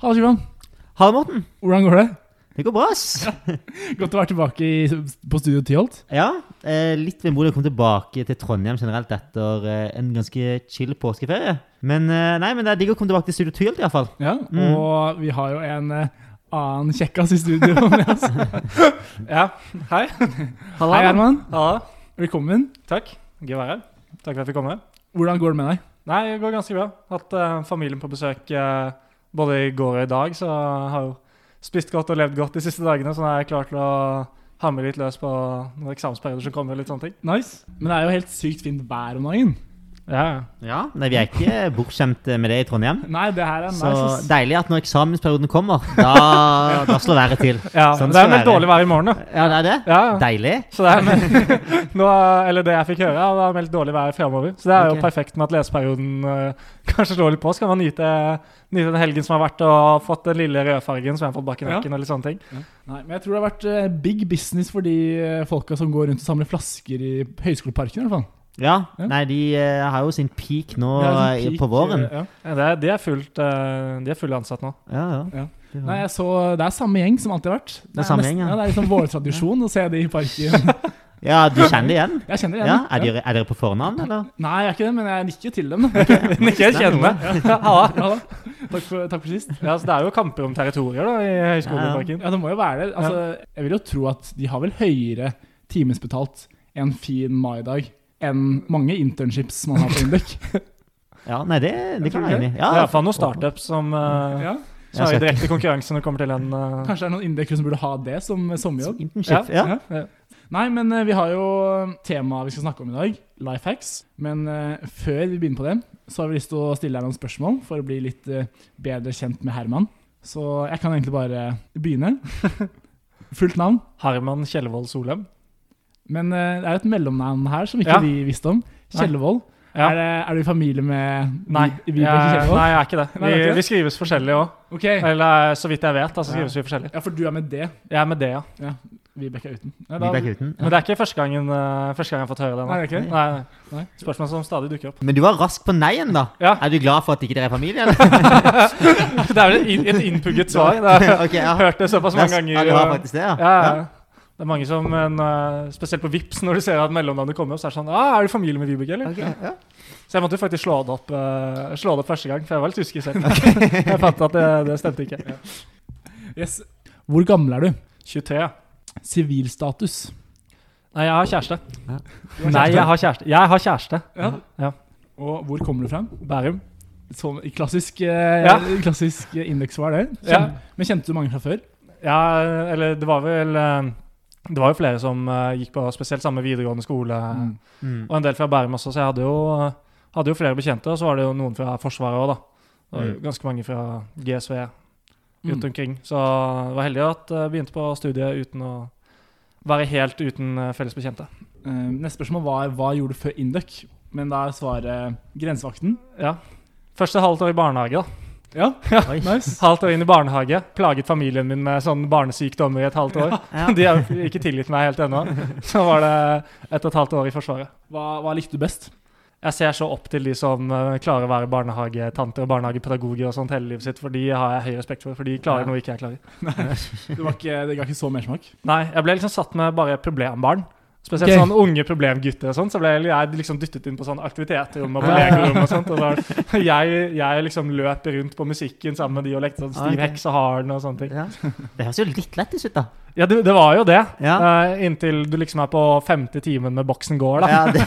Halla, Simon. Halla, Morten. Hvordan går det? Det går bra, ass. Godt å være tilbake i, på Studio Tyholt. Ja, eh, litt vemodig å komme tilbake til Trondheim generelt etter eh, en ganske chill påskeferie. Men eh, nei, men det er digg å komme tilbake til Studio Tyholt, iallfall. Ja, og vi har jo en eh, annen kjekkas i studio med oss. Ja, hei. Hei, Herman. Halla. Velkommen. Takk. Gøy å være her. Takk for at jeg fikk komme. Hvordan går det med deg? Nei, det går ganske bra. Hatt eh, familien på besøk eh, både i går og i dag, så jeg har jo spist godt og levd godt de siste dagene, så nå er jeg klar til å hamre litt løs på noen eksamensperioder som kommer. og litt sånne ting. Nice. Men det er jo helt sykt fint vær om dagen. Ja, Ja, nei, vi er ikke bortskjemt med det i Trondheim. Nei, det her er Så nice. ass. deilig at når eksamensperioden kommer, da, da slår været til. ja Sånn Det skal er det litt være. dårlig vær i morgen, da. Ja, det er det? Ja, ja. Deilig. Så det er meldt, nå, er- eller det jeg fikk høre, er det er meldt dårlig vær fremover. Så det er jo Ok. perfekt med at leseperioden eh, kanskje slår litt på. Så kan man nyte, nyte den helgen som har vært, og fått den lille rødfargen som jeg har fått bak i Ja. nakken. og litt sånne ting. Nei, men jeg tror det har vært eh, big business for de eh, folka som går rundt og samler flasker i Høgskoleparken. i hvert fall. Ja. Ja. Nei, de eh, har jo sin peak nå Det er sånn eh, peak, på våren. eh, Ja. Ja, det, er- de, er fullt, eh, de er fullt ansatt nå. Ja, ja. Ja. Nei, jeg så, Det er samme gjeng som alltid har vært. Det samme nesten- gjeng, ja. ja. Det er liksom vårtradisjon å se de i parken. ja, du kjenner det igjen? Jeg kjenner igjen. Ja, Er dere, er dere på fornavn, eller? Nei, jeg er ikke det, men jeg nikker til dem. da. Ikke jeg kjenner Ja, da. Takk, for, takk for sist. Ja, så det er jo kamper om territorier da, i Høgskoleparken. Ja, det må jo være det. Altså, jeg vil jo tro at de har vel høyere timesbetalt en fin maidag enn mange internships man har på Induc. Ja, nei, det, det kan tror jeg være det. enig i. Det Ja, er iallfall noen startups som, eh, Ja. som er Jeg i direkte konkurranse når det kommer til en eh, Kanskje det er noen indekere som burde ha det som sommerjobb? Internship, ja. Ja. Nei, men eh, vi har jo temaet vi skal snakke om i dag, life hacks. Men eh, før vi begynner på det, så har vi lyst til å stille deg noen spørsmål for å bli litt eh, bedre kjent med Herman. Så jeg kan egentlig bare begynne. Fullt navn. Harman Kjellvold Solem. Men eh, det er et mellomnavn her som ikke Ja. vi visste om. Nei. Kjellevold. Ja. Er, det- er du i familie med Vi- Nei, jeg, Vibeke Kjellevold? nei, Eh. jeg er ikke det. Nei, det er Vi, ikke det. vi skrives forskjellig òg. Ok. Eller så vidt jeg vet, da, så skrives Ja. vi forskjellig. Ja, for du er med det. Jeg er med det, ja. Vibeke er uten. Nei, Vi da- ble ikke uten. Men det er ikke første gangen, eh, første gang jeg har fått høre det. nå. Nei, det er ikke det? Nei, Nei. nei. Spørsmål som stadig dukker opp. Men du var rask på nei-en, da. Ja. Er du glad for at ikke dere er familie? Eller? Det er vel et in- et innpugget svar. Det er, Ok, jeg ja. har hørt det såpass mange ganger. Ja, du har og- faktisk det, ja. ja, ja. Det er mange som, men, eh, Spesielt på Vips når du ser at mellomnavnet kommer opp, så er det sånn ah, 'Er du familie med Vibeke, eller?' Ok, ja. Så jeg måtte jo faktisk slå det opp, eh, slå det opp første gang, for jeg var litt usikker selv. Jeg fant at det, det stemte ikke. Yes. Hvor gammel er du? 23, ja. Sivilstatus. Nei, jeg har kjæreste. Ja. Nei, jeg har kjæreste. Jeg har kjæreste. Ja. Ja. Og hvor kommer du fra? Bærum. Som, klassisk eh, Ja. klassisk eh, indeksvar, det. Kjen, Ja. Men kjente du mange fra før? Ja, eller det var vel eh, Det var jo flere som eh, gikk på spesielt samme videregående skole, Mm. Mm. og en del fra Bærum også, så jeg hadde jo, eh, hadde jo flere bekjente, og så var det jo noen fra Forsvaret òg, da. Det var jo Mm. ganske mange fra GSV rundt omkring. Så jeg var heldig at jeg begynte på studiet uten å være helt uten eh, felles bekjente. Eh, neste spørsmål var hva gjorde du før Induc? Men da er svaret grensevakten. Ja. Første halvt år i barnehage, da. Ja, Oi. nice. Halvt år inn i barnehage. Plaget familien min med sånn barnesykdommer i et halvt år. Ja. De har ikke tilgitt meg helt ennå. Så var det ett og et halvt år i Forsvaret. Hva, hva likte du best? Jeg ser så opp til de som eh, klarer å være barnehagetanter og barnehagepedagoger og sånt hele livet sitt, for de har jeg høy respekt for, for de klarer Ja. noe ikke jeg klarer. Det, var ikke, det ga ikke så mersmak. Nei, jeg ble liksom satt med bare problembarn. Spesielt Ok. sånn unge problemgutter og sånn, så ble jeg- jeg liksom dyttet inn på sånn aktivitetsrom og på legerom og sånt. Og da, jeg, jeg liksom løp rundt på musikken sammen med de og lekte sånn Ah, ok. Stiv heks og haren og sånne ting. Ja. Det høres jo litt lættis ut, da. Ja, det, det var jo det. Ja. eh, inntil du liksom er på femte timen med boksen går, da. Ja, det,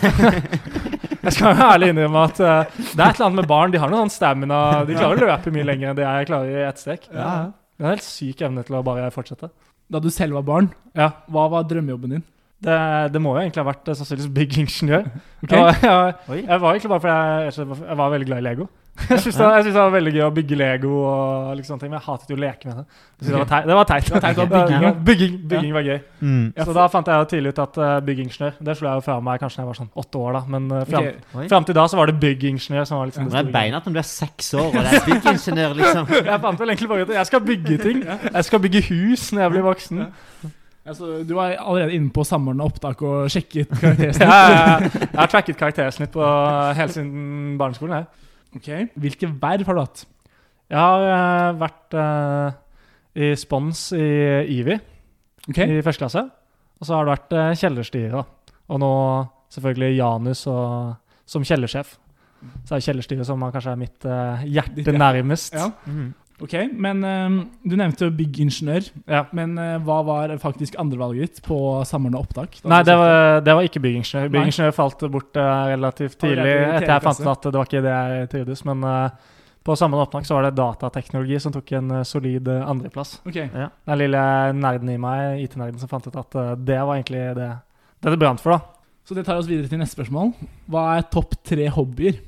Jeg skal være ærlig innrømme at eh, det er et eller annet med barn. De har noen sånn stamina. De klarer å løpe mye lenger enn det jeg klarer i ett strekk. ja. ja. Det er en helt syk evne til å bare fortsette. Da du selv var barn, Ja. hva var drømmejobben din? Det, det må jo egentlig ha vært eh, sannsynligvis byggingeniør. Ok. Jeg, jeg, Oi. jeg var egentlig bare fordi jeg, jeg, skjønner hvorfor- jeg var veldig glad i Lego. Jeg syntes det, jeg syntes det var veldig gøy å bygge Lego, og liksom sånne ting, men jeg hatet jo å leke med det. Jeg syntes Det var teit. Det var teit. Det var teit, det var Ja, bygging, bygging, bygging var gøy. Mm. Ja, Så da fant jeg jo tidlig ut at eh, byggingeniør Det slo jeg jo fra meg kanskje da jeg var sånn åtte år, da. Men uh, fram, Ok, Oi. fram til da så var det byggingeniør som var liksom Det er beinhardt når du er seks år og det er byggingeniør, liksom. Jeg fant vel egentlig bare ut at jeg skal bygge ting. Jeg skal bygge hus når jeg blir voksen. altså, du var allerede inne på samordna opptak og sjekket Jeg, karaktersnitt. jeg, jeg har tracket karaktersnitt på eh, helt siden barneskolen. Jeg, Ok, Hvilke verv har du hatt? jeg har eh, vært eh, i spons i IVI Ok, i første klasse. Og så har det vært uh, kjellerstyre, da. Og nå selvfølgelig Janus og, som kjellersjef. Så er det kjellerstyret som kanskje er mitt eh, Ditt hjerte hjerte. nærmest. Ja. Mm. ok, Men eh, du nevnte jo byggingeniør. Ja. Men eh, hva var faktisk andrevalget ditt på samordna opptak? Da Nei, du det søkte? var, det var ikke byggingeniør. Byggingeniør falt bort eh, relativt tidlig Allerede i etter tredje jeg fant ut klasse. at det var ikke det jeg trivdes. Men eh, på samme opptak så var det datateknologi som tok en eh, solid eh, andreplass. Ok. Den lille nerden i meg, IT-nerden, som fant ut at eh, det var egentlig det det, det brant for, da. Så det tar oss videre til neste spørsmål. Hva er topp tre hobbyer?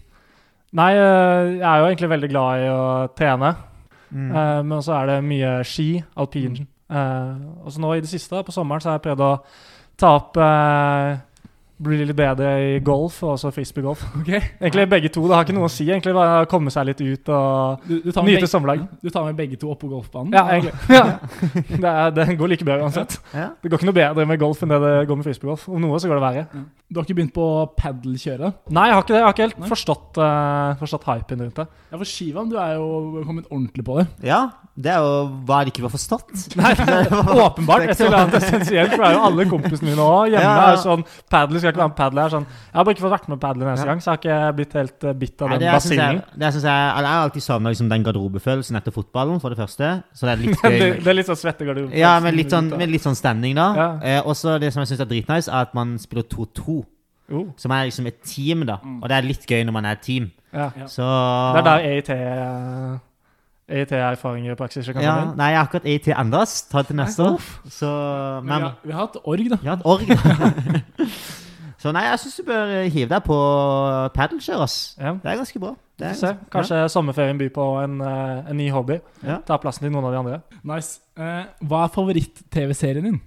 Nei, eh, jeg er jo egentlig veldig glad i å trene, Mm. eh, men så er det mye ski, alpin. Mm. eh, og så nå i det siste, på sommeren, så har jeg prøvd å ta opp eh, Bli litt bedre i golf, og også frisbeegolf. Ok. Egentlig begge to. Det har ikke noe å si. egentlig Bare å komme seg litt ut og Du, du, tar, med nyte begge, samlag. du tar med begge to opp på golfbanen? Ja, egentlig. Ja. Det, er, det går like bra uansett. Mm. Ja. Det går ikke noe bedre med golf enn det det går med frisbeegolf. Om noe så går det verre. Du har ikke begynt på padelkjøret? Nei, jeg har ikke det. Jeg har ikke helt Nei. forstått, eh, forstått hypen rundt det. Ja, for Shivan, du er jo kommet ordentlig på det. ja, det er jo hva de ikke var forstått. Nei, Åpenbart. Det er Et ikke eller annet essensielt. For det er jo alle kompisene mine òg. Hjemme Ja, ja. er jo sånn Padel skal ikke være med padel. Jeg, er sånn, jeg har bare ikke fått vært med padel en eneste Ja. gang, så jeg har ikke blitt helt eh, bitt av Nei, den det er, synes jeg, basillen. det er, synes jeg, eller jeg har alltid savna liksom, den garderobefølelsen etter fotballen, for det første. Så det er litt Det, gøy. det er litt sånn svettegarderobe. Ja, med litt sånn, med litt sånn standing, da. Ja. Eh, og så det som jeg syns er dritnice, er at man spiller 2-2. Oh, Som er liksom et team, da. Mm. Og det er litt gøy når man er et team. ja. Ja. Så Det Ah. er der E EIT EIT-erfaringer eh, E i praksis kan komme ja, inn. Nei, jeg har akkurat EIT endres. Ta det til neste år. Så Men vi Men har, vi har hatt org, da. Ja, et org. da. så nei, jeg syns du bør eh, hive deg på padelkjør, ass. Ja. Det er ganske bra. Det Vi er får se. ganske- Kanskje sommerferien byr på en, eh, en ny hobby. Ja. Ta plassen til noen av de andre. Nice. Eh, hva er favoritt-TV-serien din?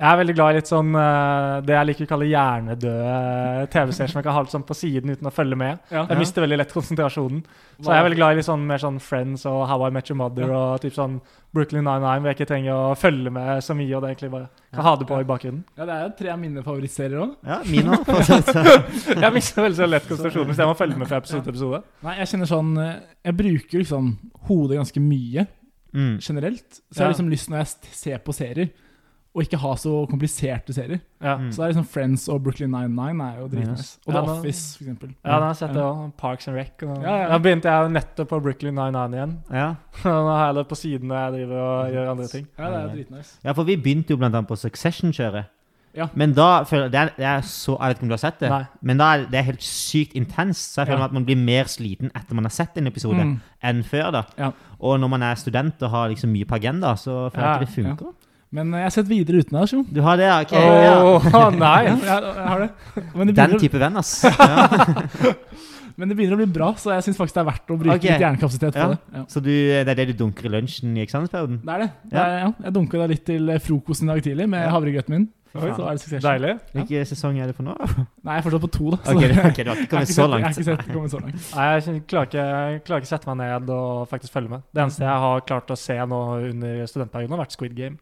Jeg er veldig glad i litt sånn eh, det jeg liker å kalle hjernedøde TV-serier som jeg kan ha litt sånn på siden uten å følge med. Ja. Jeg mister veldig lett konsentrasjonen. Så jeg er veldig glad i litt sånn mer sånn Friends og How I Met Your Mother og typ sånn Brooklyn Nine-Nine, hvor jeg ikke trenger å følge med så mye, og det egentlig bare kan ha det på i bakgrunnen. Ja, det er jo tre av mine favorittserier òg. Ja, mine òg, for så vidt. Jeg mister veldig så lett konsentrasjonen hvis jeg må følge med fra episode til episode. Nei, jeg kjenner sånn eh, Jeg bruker liksom hodet ganske mye Mm. generelt. Så jeg Ja. har liksom lyst når jeg s- ser på serier, å ikke ha så kompliserte serier. Ja. Mm. Så det er liksom Friends og Brooklyn Nine-Nine er jo dritnice. Og The Ja, da- Office, for eksempel. Ja, den har jeg sett det også. Parks and Rec. Og... Ja, ja. Da begynte jeg nettopp på Brooklyn Nine-Nine igjen. Ja. Nå har jeg det på siden når jeg driver Mhm. og gjør andre ting. Ja, det er dritnice. ja, for vi begynte jo blant annet på Succession-kjøret. Ja. Men da føler jeg det er, det er så Jeg vet ikke om du har sett det, Nei. men da er det er helt sykt intenst. Så jeg føler Ja. at man blir mer sliten etter man har sett en episode, Mm. enn før. da Ja. Og når man er student og har liksom mye på agenda, så føler jeg Ja, ikke det funker. Men eh, jeg har sett videre utenlands, jo. Du har det, ja, OK? Ja. Åh, nei! Ja, jeg, jeg har det. Men det, Den begynner, type venn, ass. Ja. men det begynner å bli bra, så jeg syns faktisk det er verdt å bruke Ok. litt hjernekapasitet på Ja. det. Ja. Så du, det er det du dunker i lunsjen i eksamensperioden? Det er det. det er, ja. Jeg dunka da litt til eh, frokosten i dag tidlig med Ja. havregrøten min. Oi. Så er det suksess. Deilig. Hvilken sesong er det for nå? Nei, jeg er fortsatt på to, da. så- Ok, du, ok, du Jeg har har ikke kommet ikke sett- så Jeg har langt. ikke sett det kommet så langt. Nei, jeg kjenner- klarer ikke, jeg klarer ikke sette meg ned og faktisk følge med. Det eneste jeg har klart å se nå under studentperioden, har vært Squid Game.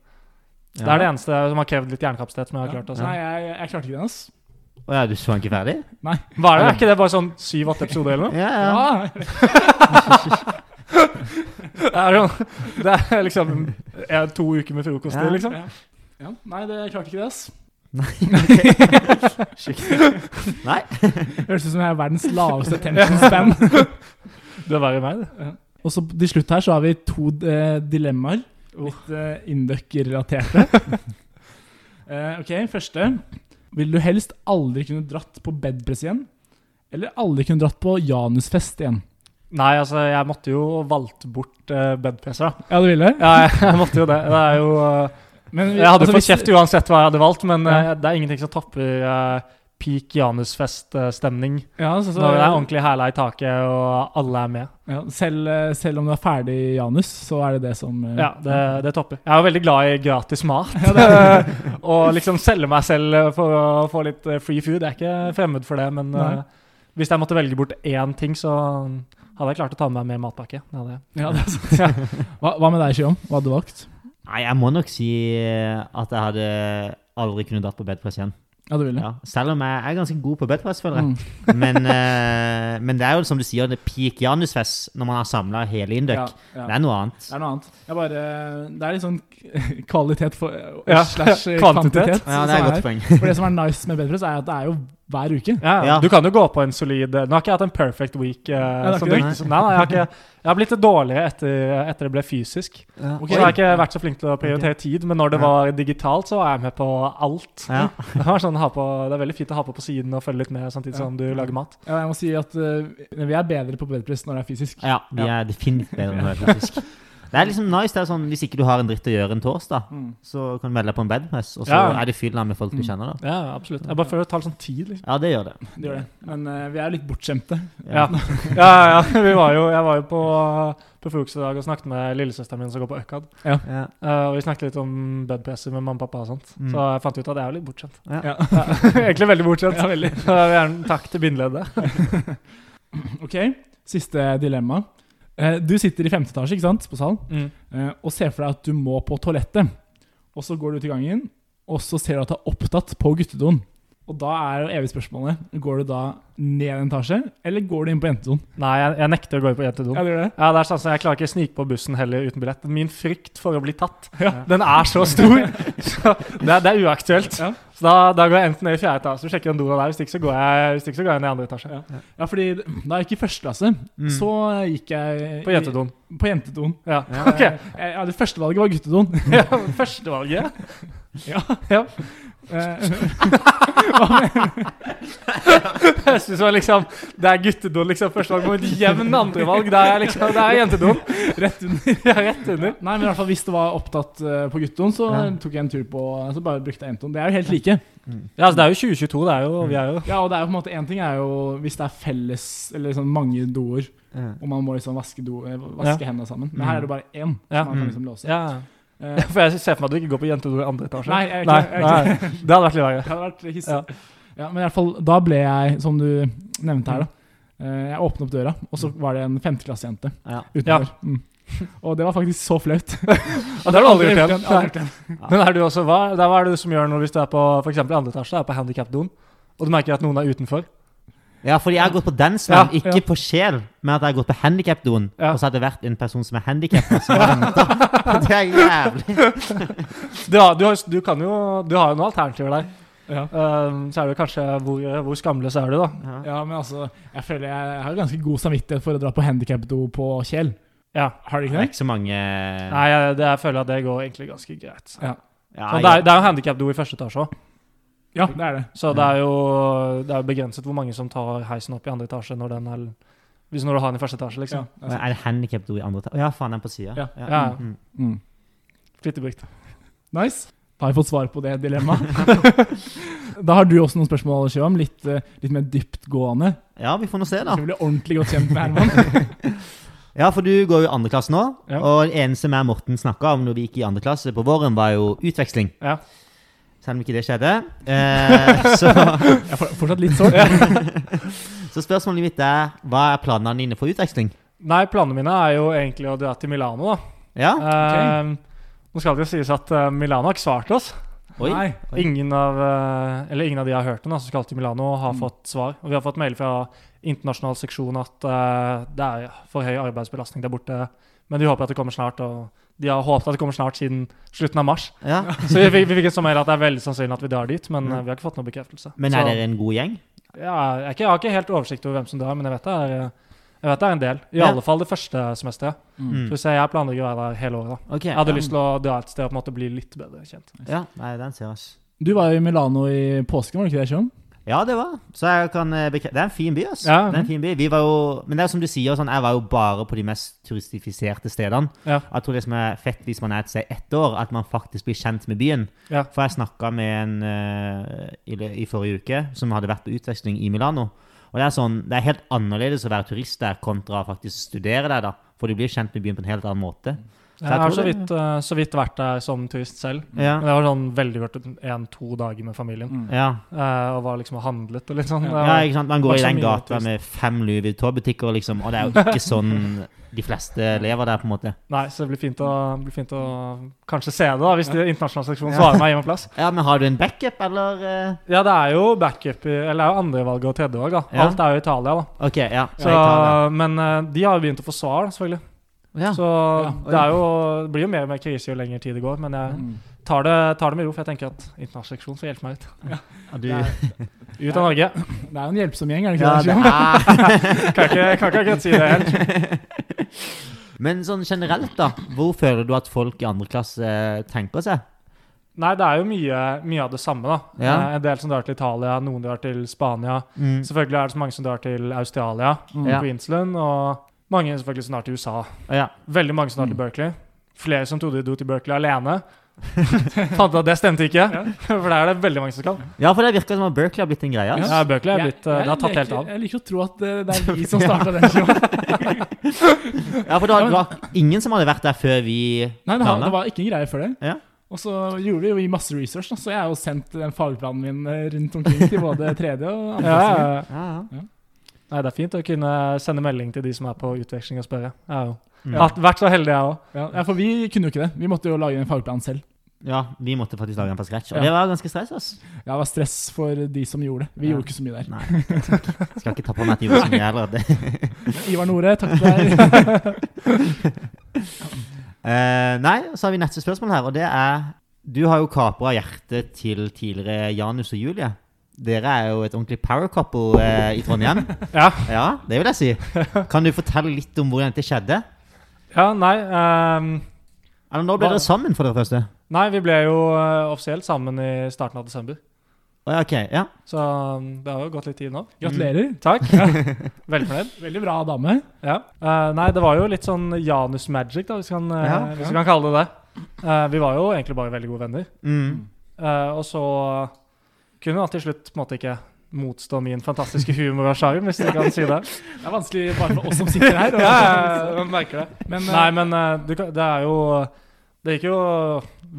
Det er det eneste som har krevd litt hjernekapasitet. som jeg har klart altså. å se. Nei, jeg, jeg klarte ikke den, ass. Å ja, du så den ikke ferdig? Hva er det? Er ikke det bare sånn syv-åtte episoder eller noe? Ja, ja. Ja. Det er, sånn, det er liksom eh, to uker med frokost Ja. til, liksom. ja. ja. Nei, det, jeg klarte ikke det, ass. Nei? Høres ut som jeg er verdens laveste attention span. Du er verre enn meg, du. Og så til slutt her så har vi to eh, dilemmaer. Oh. Litt eh, Induck-relaterte. Eh, ok, første. Vil du helst aldri kunne dratt på bedpress igjen? Eller aldri kunne dratt på Janusfest igjen? Nei, altså, jeg måtte jo valgt bort uh, bedpresser, da. Ja, du ville? Ja, jeg måtte jo det. Det er jo eh, Men vi- Jeg hadde altså, fått hvis- kjeft uansett hva jeg hadde valgt, men Ja. eh, det er ingenting som tapper eh, peak Janusfest-stemning. Ja, altså, så, så, Når det er ordentlig hæla i taket, og alle er med. ja, selv, eh, selv om du er ferdig i Janus, så er det det som eh, Ja, det, det topper. Jeg er jo veldig glad i gratis mat. og liksom selge meg selv for å få litt eh, free food. Jeg er ikke fremmed for det, men Nei. eh, hvis jeg måtte velge bort én ting, så hadde jeg klart å ta med meg mer matpakke. Det hadde jeg. Ja, det er sant. Hva, hva med deg, Sjøom? Hva hadde du valgt? Nei, jeg må nok si eh, at jeg hadde aldri kunnet dratt på bedpress igjen. Ja, du ville? Ja. Selv om jeg er ganske god på bedpress, føler jeg. Mm. Men, eh, men det er jo som du sier, det er peak Janusfest når man har samla hele Induc. Ja, ja. Det er noe annet. Det er noe annet. Jeg bare, det er litt sånn k- kvalitet for, Ja, slash eh, kvantitet. kvantitet. Ja, det er som et godt poeng. her. For det som er nice med Bedpress, er at det er jo hver uke. Ja, ja. Ja. Du kan jo gå på en solid Nå har ikke jeg hatt en perfect week. det eh, er som ikke du, det. nei, nei, jeg, har ikke, jeg har blitt litt dårligere etter, etter det ble fysisk. Ok. Så jeg har ikke vært så flink til å prioritere tid, men når det Ja. var digitalt, så var jeg med på alt. Ja. Det, var sånn, ha på, det er veldig fint å ha på på siden og følge litt med samtidig Ja. som du lager mat. Ja, Jeg må si at eh, vi er bedre på bedpress når det er fysisk. ja, vi er definitivt bedre enn det, faktisk. Det er liksom nice. det er sånn, Hvis ikke du har en dritt å gjøre en torsdag, Mm. så kan du melde deg på en bedpress, og så Ja. er det fylla med folk du kjenner. da. Ja, absolutt. Jeg bare føler det tar litt sånn tid. liksom. Ja, det gjør det. Det gjør det. Men eh, vi er jo litt bortskjemte. Ja, ja, ja. liksom. Vi var jo, jeg var jo på, på frokost i dag og snakket med lillesøsteren min som går på Økad. Ja. Eh, og vi snakket litt om bedpresser med mamma og pappa og sånt. Mm. Så jeg fant ut at jeg er jo litt bortskjemt. Ja. Ja. Egentlig veldig bortskjemt. Så jeg vil gjerne takk til bindeleddet. Ok, siste dilemma. Eh, Du sitter i femte etasje, ikke sant, på salen, Mm. eh, og ser for deg at du må på toalettet. Og så går du ut i gangen, og så ser du at det er opptatt på guttedoen. Og da er jo evig spørsmålet, går du da ned en etasje, eller går du inn på jentedoen? Nei, jeg, jeg nekter å gå inn på jentedoen. Ja, du gjør det. Ja, det er sånn som Jeg klarer ikke å snike på bussen heller uten billett. Min frykt for å bli tatt, den er så stor. Så det, er- det er uaktuelt. Ja. Så da, da går jeg enten ned i fjerde etasje og sjekker den doen der, hvis ikke så går jeg, hvis ikke så går jeg ned i andre etasje. Ja, fordi da jeg gikk i første klasse, Mm. så gikk jeg På jentedoen. i- På jentedoen. Ja. Ok. Eh, Ja, det første valget var guttedoen. Ja, Førstevalget. Ja. ja. Eh, Jeg synes det var liksom Det er guttedoen, liksom. Førstevalg mot jevn andrevalg. Det er liksom, det er jentedoen. Rett under. Ja, rett under. Nei, men i hvert fall hvis det var opptatt eh, på guttedoen, så Ja. tok jeg en tur på Så bare brukte jeg jentedoen. Det er jo helt like. Mm. Ja, altså, det er jo 2022. Det er jo, vi er jo Ja, og det er jo på en måte En ting er jo hvis det er felles Eller sånn mange doer, Ja. og man må liksom vaske, do, eh, vaske hendene sammen. Men her er det bare én. Mm. Ja. Som man kan Mm. liksom låse ja. Eh, For jeg ser for meg at du ikke går på jentedoen i andre etasje. Nei, jeg, nei, jeg, jeg, nei. Det hadde vært litt verre. det hadde vært hissig. Ja. Mm. Ja. men i hvert fall, da ble jeg, som du nevnte her, da eh, Jeg åpna opp døra, og så var det en femteklassejente Ja. Ja. utenfor. Mm. Og det var faktisk så flaut. Og det har du aldri gjort igjen. Aldri gjort igjen. Nei. Men er du også, hva, det er- hva er det du som gjør noe hvis du er på for eksempel andre etasje, er på handicap-doen, og du merker at noen er utenfor? Ja, fordi jeg har gått på den Ja, smellen, ikke ja. på sjel, men at jeg har gått på handikapdoen. Ja. Og så har det vært en person som er handikappa, som har venta. Det er jævlig. Du har, du har, du kan jo, du har jo noen alternativer der. Ja. Um, så er det jo kanskje hvor, hvor skamløs er du, da? Ja, men altså, jeg føler jeg har ganske god samvittighet for å dra på handikapdo på Kjell. Ja. Har du Det ikke er det? ikke så mange Nei, jeg, det, jeg føler at det går egentlig ganske greit. Ja. Ja, Sånn, det, er, det er jo handikap-do i første etasje òg, Ja, det er det. så det er jo det er jo begrenset hvor mange som tar heisen opp i andre etasje når den er hvis når du har den i første Ja, altså. etasje, liksom. det er sant. Er det handicapdo i andre etasje? Å ja, faen, den på sida. Ja. Ja. Mm. Mm. Flittig brukt. Nice. Da har jeg fått svar på det dilemmaet. da har du også noen spørsmål, Shivam. Litt, eh, litt mer dyptgående. ja, vi får nå se, Så da. vi blir ordentlig godt kjent med Herman. Ja, for du går jo i andre klasse nå, Ja. og det eneste meg og Morten snakka om når vi gikk i andre klasse på våren, var jo utveksling. Ja. Selv om ikke det skjedde. Eh, så, Jeg er for- fortsatt litt sårt. så spørsmålet mitt er hva er planene dine for utveksling? Nei, planene mine er jo egentlig å dra til Milano, da. Ja? Ah, Um, nå skal det jo sies at uh, Milano har ikke svart oss. Oi. Nei. Oi. Ingen av, eh, eller ingen av de jeg har hørt om, da, som skal til Milano, har Mm. fått svar. Og vi har fått mail fra internasjonal seksjon at eh, det er for høy arbeidsbelastning der borte. Men de håper at det kommer snart, og de har håpet at det kommer snart siden slutten av mars. Ja. Så vi, fikk- vi fikk en sånn mail at det er veldig sannsynlig at vi drar dit, men eh, vi har ikke fått noen bekreftelse. Mm. Men Så, er dere en god gjeng? ja, jeg, er ikke, jeg har ikke helt oversikt over hvem som drar, men jeg vet det er, eh, jeg vet det er en del. I Ja. alle fall det første semesteret. Mm. Så hvis jeg, jeg planlegger å være der hele året. da. Ok, Jeg hadde ja. lyst til å dra et sted og på en måte bli litt bedre kjent. Ja, nei, den ser oss. Du var jo i Milano i påsken, var det ikke det, Shivam? Ja, det var. Så jeg kan eh, bekre... Det er en fin by, ass. Ja. Det er en fin by. Vi var jo... Men det er som du sier, sånn, jeg var jo bare på de mest turistifiserte stedene. Ja. Jeg tror liksom det som er fett hvis man er et sted ett år, at man faktisk blir kjent med byen. Ja. For jeg snakka med en eh, i, lø- i forrige uke som hadde vært på utveksling i Milano. Og det er sånn, det er helt annerledes å være turist der kontra faktisk studere der, da. For du blir kjent med byen på en helt annen måte. Jeg har tror så det- vidt, eh, så vidt vært der som turist selv. Ja. Men det var sånn veldig kort, én-to dager med familien. Mm. Ja. eh, og var liksom og handlet og litt sånn. Ja. Det ja, var- ikke sant? Man går i Også den mye gata turist. med fem Louis Vuitton-butikker, liksom. Og det er jo ikke sånn de fleste lever der, på en måte. Nei, så det blir fint å, blir fint å kanskje se det, da, hvis de internasjonal seksjon svarer meg hjemmeplass. Ja, men har du en backup, eller? eh? Ja, det er jo backup i Eller det er jo andrevalget og tredjevalg, da. Ja. Alt er jo Italia, da. Ok, ja. Så, men eh, de har jo begynt å få svar, da, selvfølgelig. ja. Så Ja. det, er jo, det blir jo mer og mer krise jo lenger tid det går. Men jeg Mm. tar det, tar det med ro, for jeg tenker at internasjonal seksjon får hjelpe meg ut. du, Det er- Ut av Norge. Det er jo en hjelpsom gjeng, er det ikke ja, det? det Sjum? er. Kan ikke, kan ikke akkurat si det helt. Men sånn generelt, da. Hvor føler du at folk i andre klasse eh, tenker seg? Nei, det er jo mye, mye av det samme, da. Ja. Eh, En del som drar til Italia, noen drar til Spania. Mm. Selvfølgelig er det så mange som drar til Australia, Mm. Ja. Queensland, og mange selvfølgelig som drar til USA. Ja. Veldig mange som drar Mm. til Berkeley. Flere som trodde de dro til Berkeley alene. Fant ut at det stemte ikke, for der er det veldig mange som skal. ja, for det virker som om Berkeley har blitt en greie. ass. Ja, Berkeley er Jeg- blitt, eh, det har jeg tatt helt liker- av. Jeg liker å tro at det, det er vi som starta den showen. Ja, for det var, det var ingen som hadde vært der før vi Nei, det, har, planla. det var ikke en greie før det. Ja. Og så gjorde vi jo masse research, da, så jeg har jo sendt den fagplanen min eh, rundt omkring til både tredje og andre. Ja, klassinger. ja. Ja, ja. Nei, det er fint å kunne sende melding til de som er på utveksling og spørre. Jeg har jo Mm. hatt- vært så heldig, jeg òg. Ja, ja, for vi kunne jo ikke det. Vi måtte jo lage en fagplan selv. ja, vi måtte faktisk lage den på scratch. Og Ja. det var ganske stress, ass. Ja, det var stress for de som gjorde det. Vi Ja. gjorde ikke så mye der. Nei, skal ikke ta på meg at de gjorde så mye heller. Det. Ivar Nore, takk til deg. Eh, nei, så har vi neste spørsmål her, og det er Du har jo kapra hjertet til tidligere Janus og Julie. Dere er jo et ordentlig power couple eh, i Trondheim. Ja. ja, det vil jeg si. Kan du fortelle litt om hvordan dette skjedde? Ja, nei, ehm, Eller Når ble Hva- dere sammen, for det første? nei, vi ble jo eh, offisielt sammen i starten av desember. Å, ja, ok, ja. Så um, det har jo gått litt tid nå. Mm. Gratulerer. Takk. Veldig fornøyd. Veldig bra dame. Ja. Eh, nei, det var jo litt sånn Janus magic, da, hvis vi kan, eh, Ja, Hvis vi kan kalle det det. Eh, vi var jo egentlig bare veldig gode venner. Mm. Eh, og så kunne han til slutt på en måte ikke motstå min fantastiske humor og sjarm, hvis dere kan si det. Det er vanskelig bare for oss som sitter her. Ja, Og, ja, man merker det. Men, eh, Nei, men eh, du, kan- det er jo Det gikk jo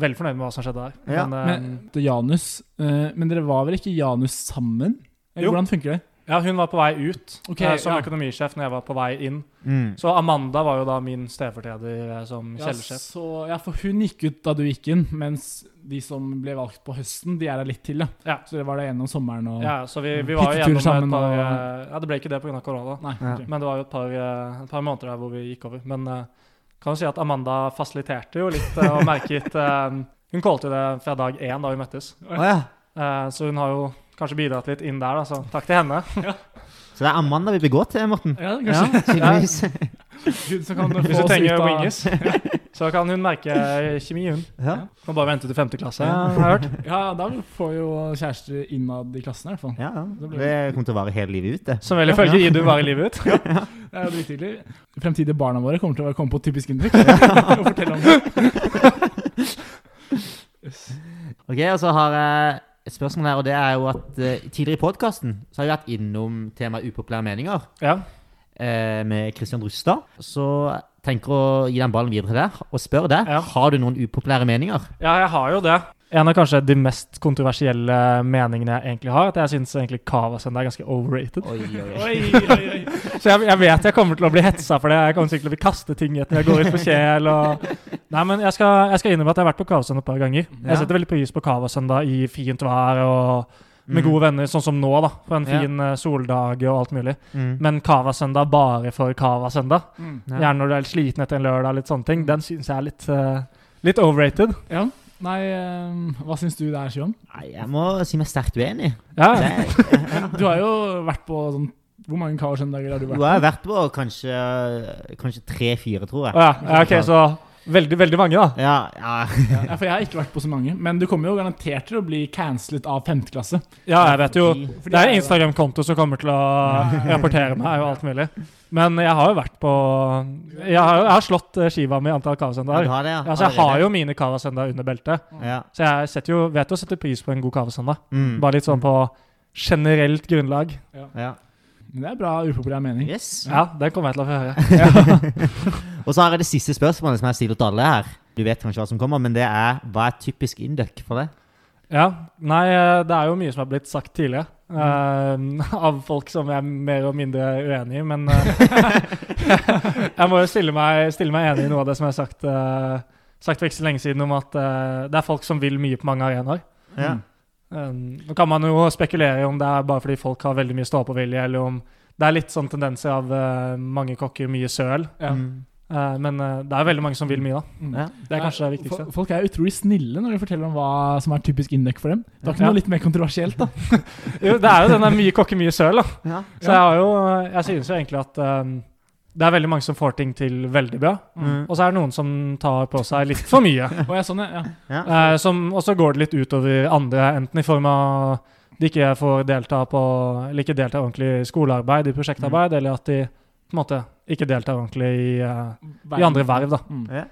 veldig fornøyd med hva som skjedde der. Ja, men, eh, men, Um, til Janus, eh, men dere var vel ikke Janus sammen? Eller Jo. hvordan funker det? ja, hun var på vei ut Ok, eh, som ja. økonomisjef når jeg var på vei inn. Mm. Så Amanda var jo da min stedfortreder eh, som Ja, kjellersjef. så, ja, for hun gikk ut da du gikk inn, mens de som ble valgt på høsten, de er der litt til. Ja. Så det var det gjennom sommeren og Ja, så vi, vi var jo Hyttetur gjennom sammen et par og- eh, Ja, det ble ikke det pga. korona, Nei, Ja. ok. men det var jo et par, eh, et par måneder der hvor vi gikk over. Men eh, kan jo si at Amanda fasiliterte jo litt eh, og merket eh, Hun kalte jo det fra dag én da vi møttes, Å, ja. Eh, så hun har jo kanskje bidratt litt inn der, da, så takk til henne. Så det er Amanda vi bør gå til, Morten? Ja, Ja, kanskje tydeligvis. Gud, så kan det få Hvis du oss ut trenger av wingers, så kan hun merke eh, kjemi, hun. Ja. Må bare vente til femte klasse, har jeg hørt. Ja, da får jo kjærester innad i klassen i hvert fall. Ja, ja. Det kommer til å vare hele livet ut, det. Som vel ifølge Idun varer livet ut. Det er jo drithyggelig. Fremtidige barna våre kommer til å komme på typisk Indrik og fortelle om det. Ok, og så har jeg et spørsmål her, og det er jo at eh, tidligere i podkasten så har vi vært innom temaet upopulære meninger Ja. eh, med Christian Rustad. Så jeg tenker å gi den ballen videre til deg og spørre deg Ja. har du noen upopulære meninger. Ja, jeg har jo det. En av kanskje de mest kontroversielle meningene jeg egentlig har, at jeg syns egentlig Kavasend er ganske overrated. Oi, oi, oi. Så jeg, jeg vet jeg kommer til å bli hetsa for det. Jeg kommer sikkert til å bli kastet ting etter jeg går ut på Kjel. Og... Nei, men jeg skal, jeg skal innrømme at jeg har vært på Kavasend et par ganger. Ja. Jeg setter veldig pris på Kavasend da, i fint vær og med gode venner, sånn som nå, da. På en Mm. Ja. fin eh, soldag og alt mulig. Mm. Men Kavasøndag bare for Kavasøndag, Mm. Ja. gjerne når du er litt sliten etter en lørdag, litt sånne ting, den syns jeg er litt, eh, litt overrated. Ja. Nei, ehm, hva syns du det er, Sjøen? Nei, jeg må si meg sterkt uenig. Det Ja. er, Du har jo vært på sånn Hvor mange kavasjendager har du jo, vært jeg har vært på kanskje, kanskje tre-fire, tror Å jeg. ja. ja, OK, så Veldig, veldig mange, da. Ja, ja. Ja, for jeg har ikke vært på så mange. Men du kommer jo garantert til å bli cancelet av femte klasse. Ja, jeg vet jo Fordi Det er jeg- en Instagram-konto som kommer til å rapportere meg, er jo alt mulig. Men jeg har jo vært på Jeg har, jeg har slått eh, skiva mi i antall Ja, du kavasendaer. har det, ja. Altså, jeg har jo mine kavasendaer under beltet, Ja. så jeg setter jo, vet jo å sette pris på en god kavasendag. Mm. Bare litt sånn på generelt grunnlag. ja. Men det er bra upopulær mening. Yes. Ja, den kommer jeg til å få høre. Mm. Og så har jeg det siste spørsmålet som jeg stiller til alle her. Du vet kanskje hva som kommer, men det er hva er typisk induck for deg? Ja, Nei, eh, det er jo mye som er blitt sagt tidligere. eh, av folk som jeg er mer og mindre uenig i, men eh, Jeg må jo stille meg, stille meg enig i noe av det som jeg har sagt, eh, sagt for ikke så lenge siden, om at eh, det er folk som vil mye på mange arenaer. Ja. Mm. Eh, Nå kan man jo spekulere i om det er bare fordi folk har veldig mye stå-på-vilje, eller om det er litt sånn tendenser av eh, mange kokker, mye søl. Ja. Mm. Eh, men eh, det er veldig mange som vil mye, da. Mm. Ja. Det er kanskje det viktigste. Fol- Folk er utrolig snille når de forteller om hva som er typisk Induc for dem. Det var ikke Ja. noe litt mer kontroversielt, da. Jo, det er jo den der mye kokke, mye søl, da. Ja. Så jeg har jo Jeg synes jo egentlig at eh, det er veldig mange som får ting til veldig bra. Mm. Og så er det noen som tar på seg litt for mye. Og jeg, sånn, ja. Eh, som, og så går det litt utover andre, enten i form av de ikke får delta på Eller ikke delta ordentlig i skolearbeid, i Mm. prosjektarbeid, eller at de på en måte ikke deltar ordentlig i, eh, i andre verv, da. Mm. Ja.